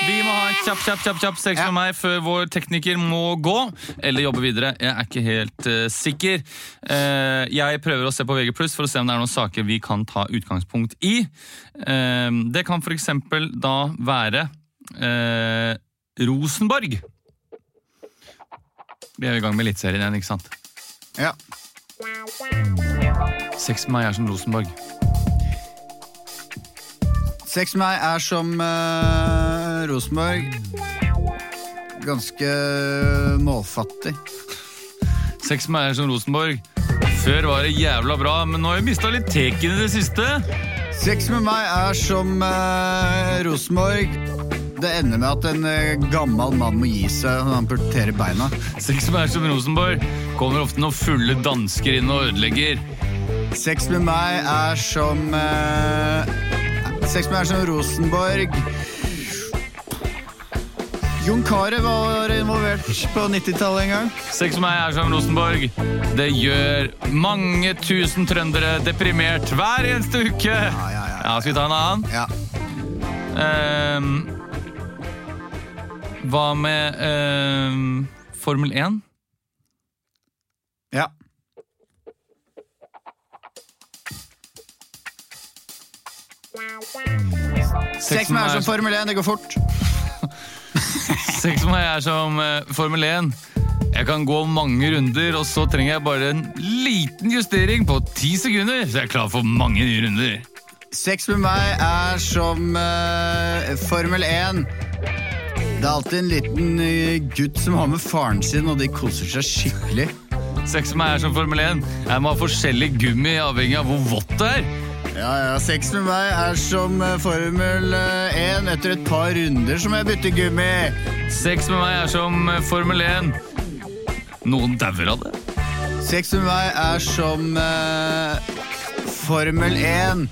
Speaker 2: Vi må ha en kjapp, kjapp, kjapp, kjapp sex med meg før vår tekniker må gå. Eller jobbe videre. Jeg er ikke helt eh, sikker. Eh, jeg prøver å se på VG+, for å se om det er noen saker vi kan ta utgangspunkt i. Eh, det kan for eksempel da være eh, Rosenborg. Vi er i gang med Eliteserien igjen, ikke sant?
Speaker 1: Ja.
Speaker 2: Sex med meg er som Rosenborg.
Speaker 1: Sex med meg er som eh, Rosenborg. Ganske målfattig.
Speaker 2: Sex med meg er som Rosenborg. Før var det jævla bra, men nå har jeg mista litt teken i det siste.
Speaker 1: Sex med meg er som eh, Rosenborg. Det ender med at en eh, gammel mann må gi seg og han amputerer beina.
Speaker 2: Sex med meg som Rosenborg kommer ofte når fulle dansker inn og ødelegger.
Speaker 1: Sex med meg er som eh, Sex med meg er som Rosenborg. Jon Carew var involvert på 90-tallet en gang.
Speaker 2: Sex med meg er som Rosenborg. Det gjør mange tusen trøndere deprimert hver eneste uke. Ja,
Speaker 1: ja, ja.
Speaker 2: Skal vi ta en annen?
Speaker 1: Ja.
Speaker 2: Ehm, hva med ehm, Formel 1?
Speaker 1: ja. Sex med meg er som Formel 1, det går fort.
Speaker 2: Sex med meg er som eh, Formel 1. Jeg kan gå mange runder, og så trenger jeg bare en liten justering på ti sekunder, så jeg er klar for mange nye runder.
Speaker 1: Sex med meg er som eh, Formel 1. Det er alltid en liten eh, gutt som har med faren sin, og de koser seg skikkelig.
Speaker 2: Sex med meg er som Formel 1. Jeg må ha forskjellig gummi avhengig av hvor vått det er.
Speaker 1: Ja, ja, Sex med meg er som eh, Formel eh, 1. Etter et par runder så må jeg bytte gummi.
Speaker 2: Sex med meg er som eh, Formel 1. Noen dauer av det.
Speaker 1: Sex med meg er som eh, Formel 1.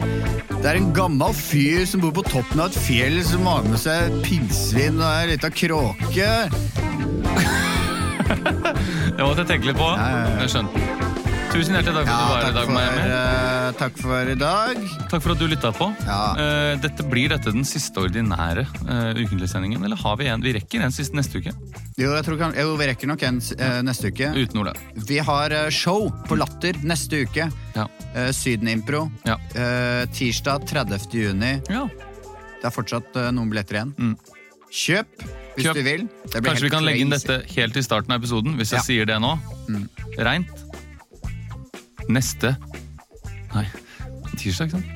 Speaker 1: Det er en gammel fyr som bor på toppen av et fjell, som har med seg et pinnsvin og ei lita kråke.
Speaker 2: Det måtte jeg tenke litt på.
Speaker 1: ja, ja.
Speaker 2: Jeg skjønte. Tusen hjertelig takk for
Speaker 1: Ja,
Speaker 2: at
Speaker 1: takk
Speaker 2: du var her i dag,
Speaker 1: for,
Speaker 2: Miami.
Speaker 1: eh, takk for i dag.
Speaker 2: Takk for at du lytta på.
Speaker 1: Ja.
Speaker 2: Eh, Dette Blir dette den siste ordinære uh, ukentlige sendingen, eller har vi en? Vi rekker en sist neste uke.
Speaker 1: Jo, jeg tror kan, jo, vi rekker nok en eh, neste uke.
Speaker 2: Uten Ola.
Speaker 1: Vi har eh, show på Latter neste uke.
Speaker 2: Ja.
Speaker 1: Eh, Sydenimpro.
Speaker 2: Ja.
Speaker 1: Eh, tirsdag 30. juni.
Speaker 2: ja.
Speaker 1: Det er fortsatt eh, noen billetter igjen. Kjøp hvis
Speaker 2: Mm. Kjøp.
Speaker 1: du vil. Det blir helt
Speaker 2: Kanskje vi kan legge inn
Speaker 1: crazy.
Speaker 2: dette helt i starten av episoden, hvis
Speaker 1: Ja.
Speaker 2: jeg
Speaker 1: Mm.
Speaker 2: sier det nå. Reint. Neste Nei, tirsdag, ikke sant?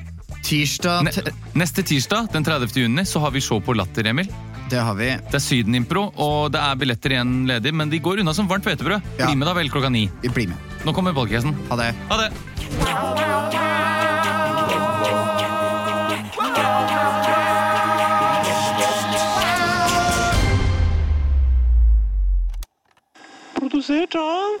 Speaker 1: Tirsdag
Speaker 2: Ne
Speaker 1: t-
Speaker 2: neste tirsdag, den 30. juni, så har vi show på Latter, Emil.
Speaker 1: Det har vi.
Speaker 2: Det er Sydenimpro, og det er billetter igjen ledig, men de går unna som varmt hvetebrød.
Speaker 1: Ja.
Speaker 2: Bli med da vel klokka ni.
Speaker 1: Vi blir med.
Speaker 2: Nå kommer podcasten.
Speaker 1: Ha det.
Speaker 2: Ha det!
Speaker 5: Produsert av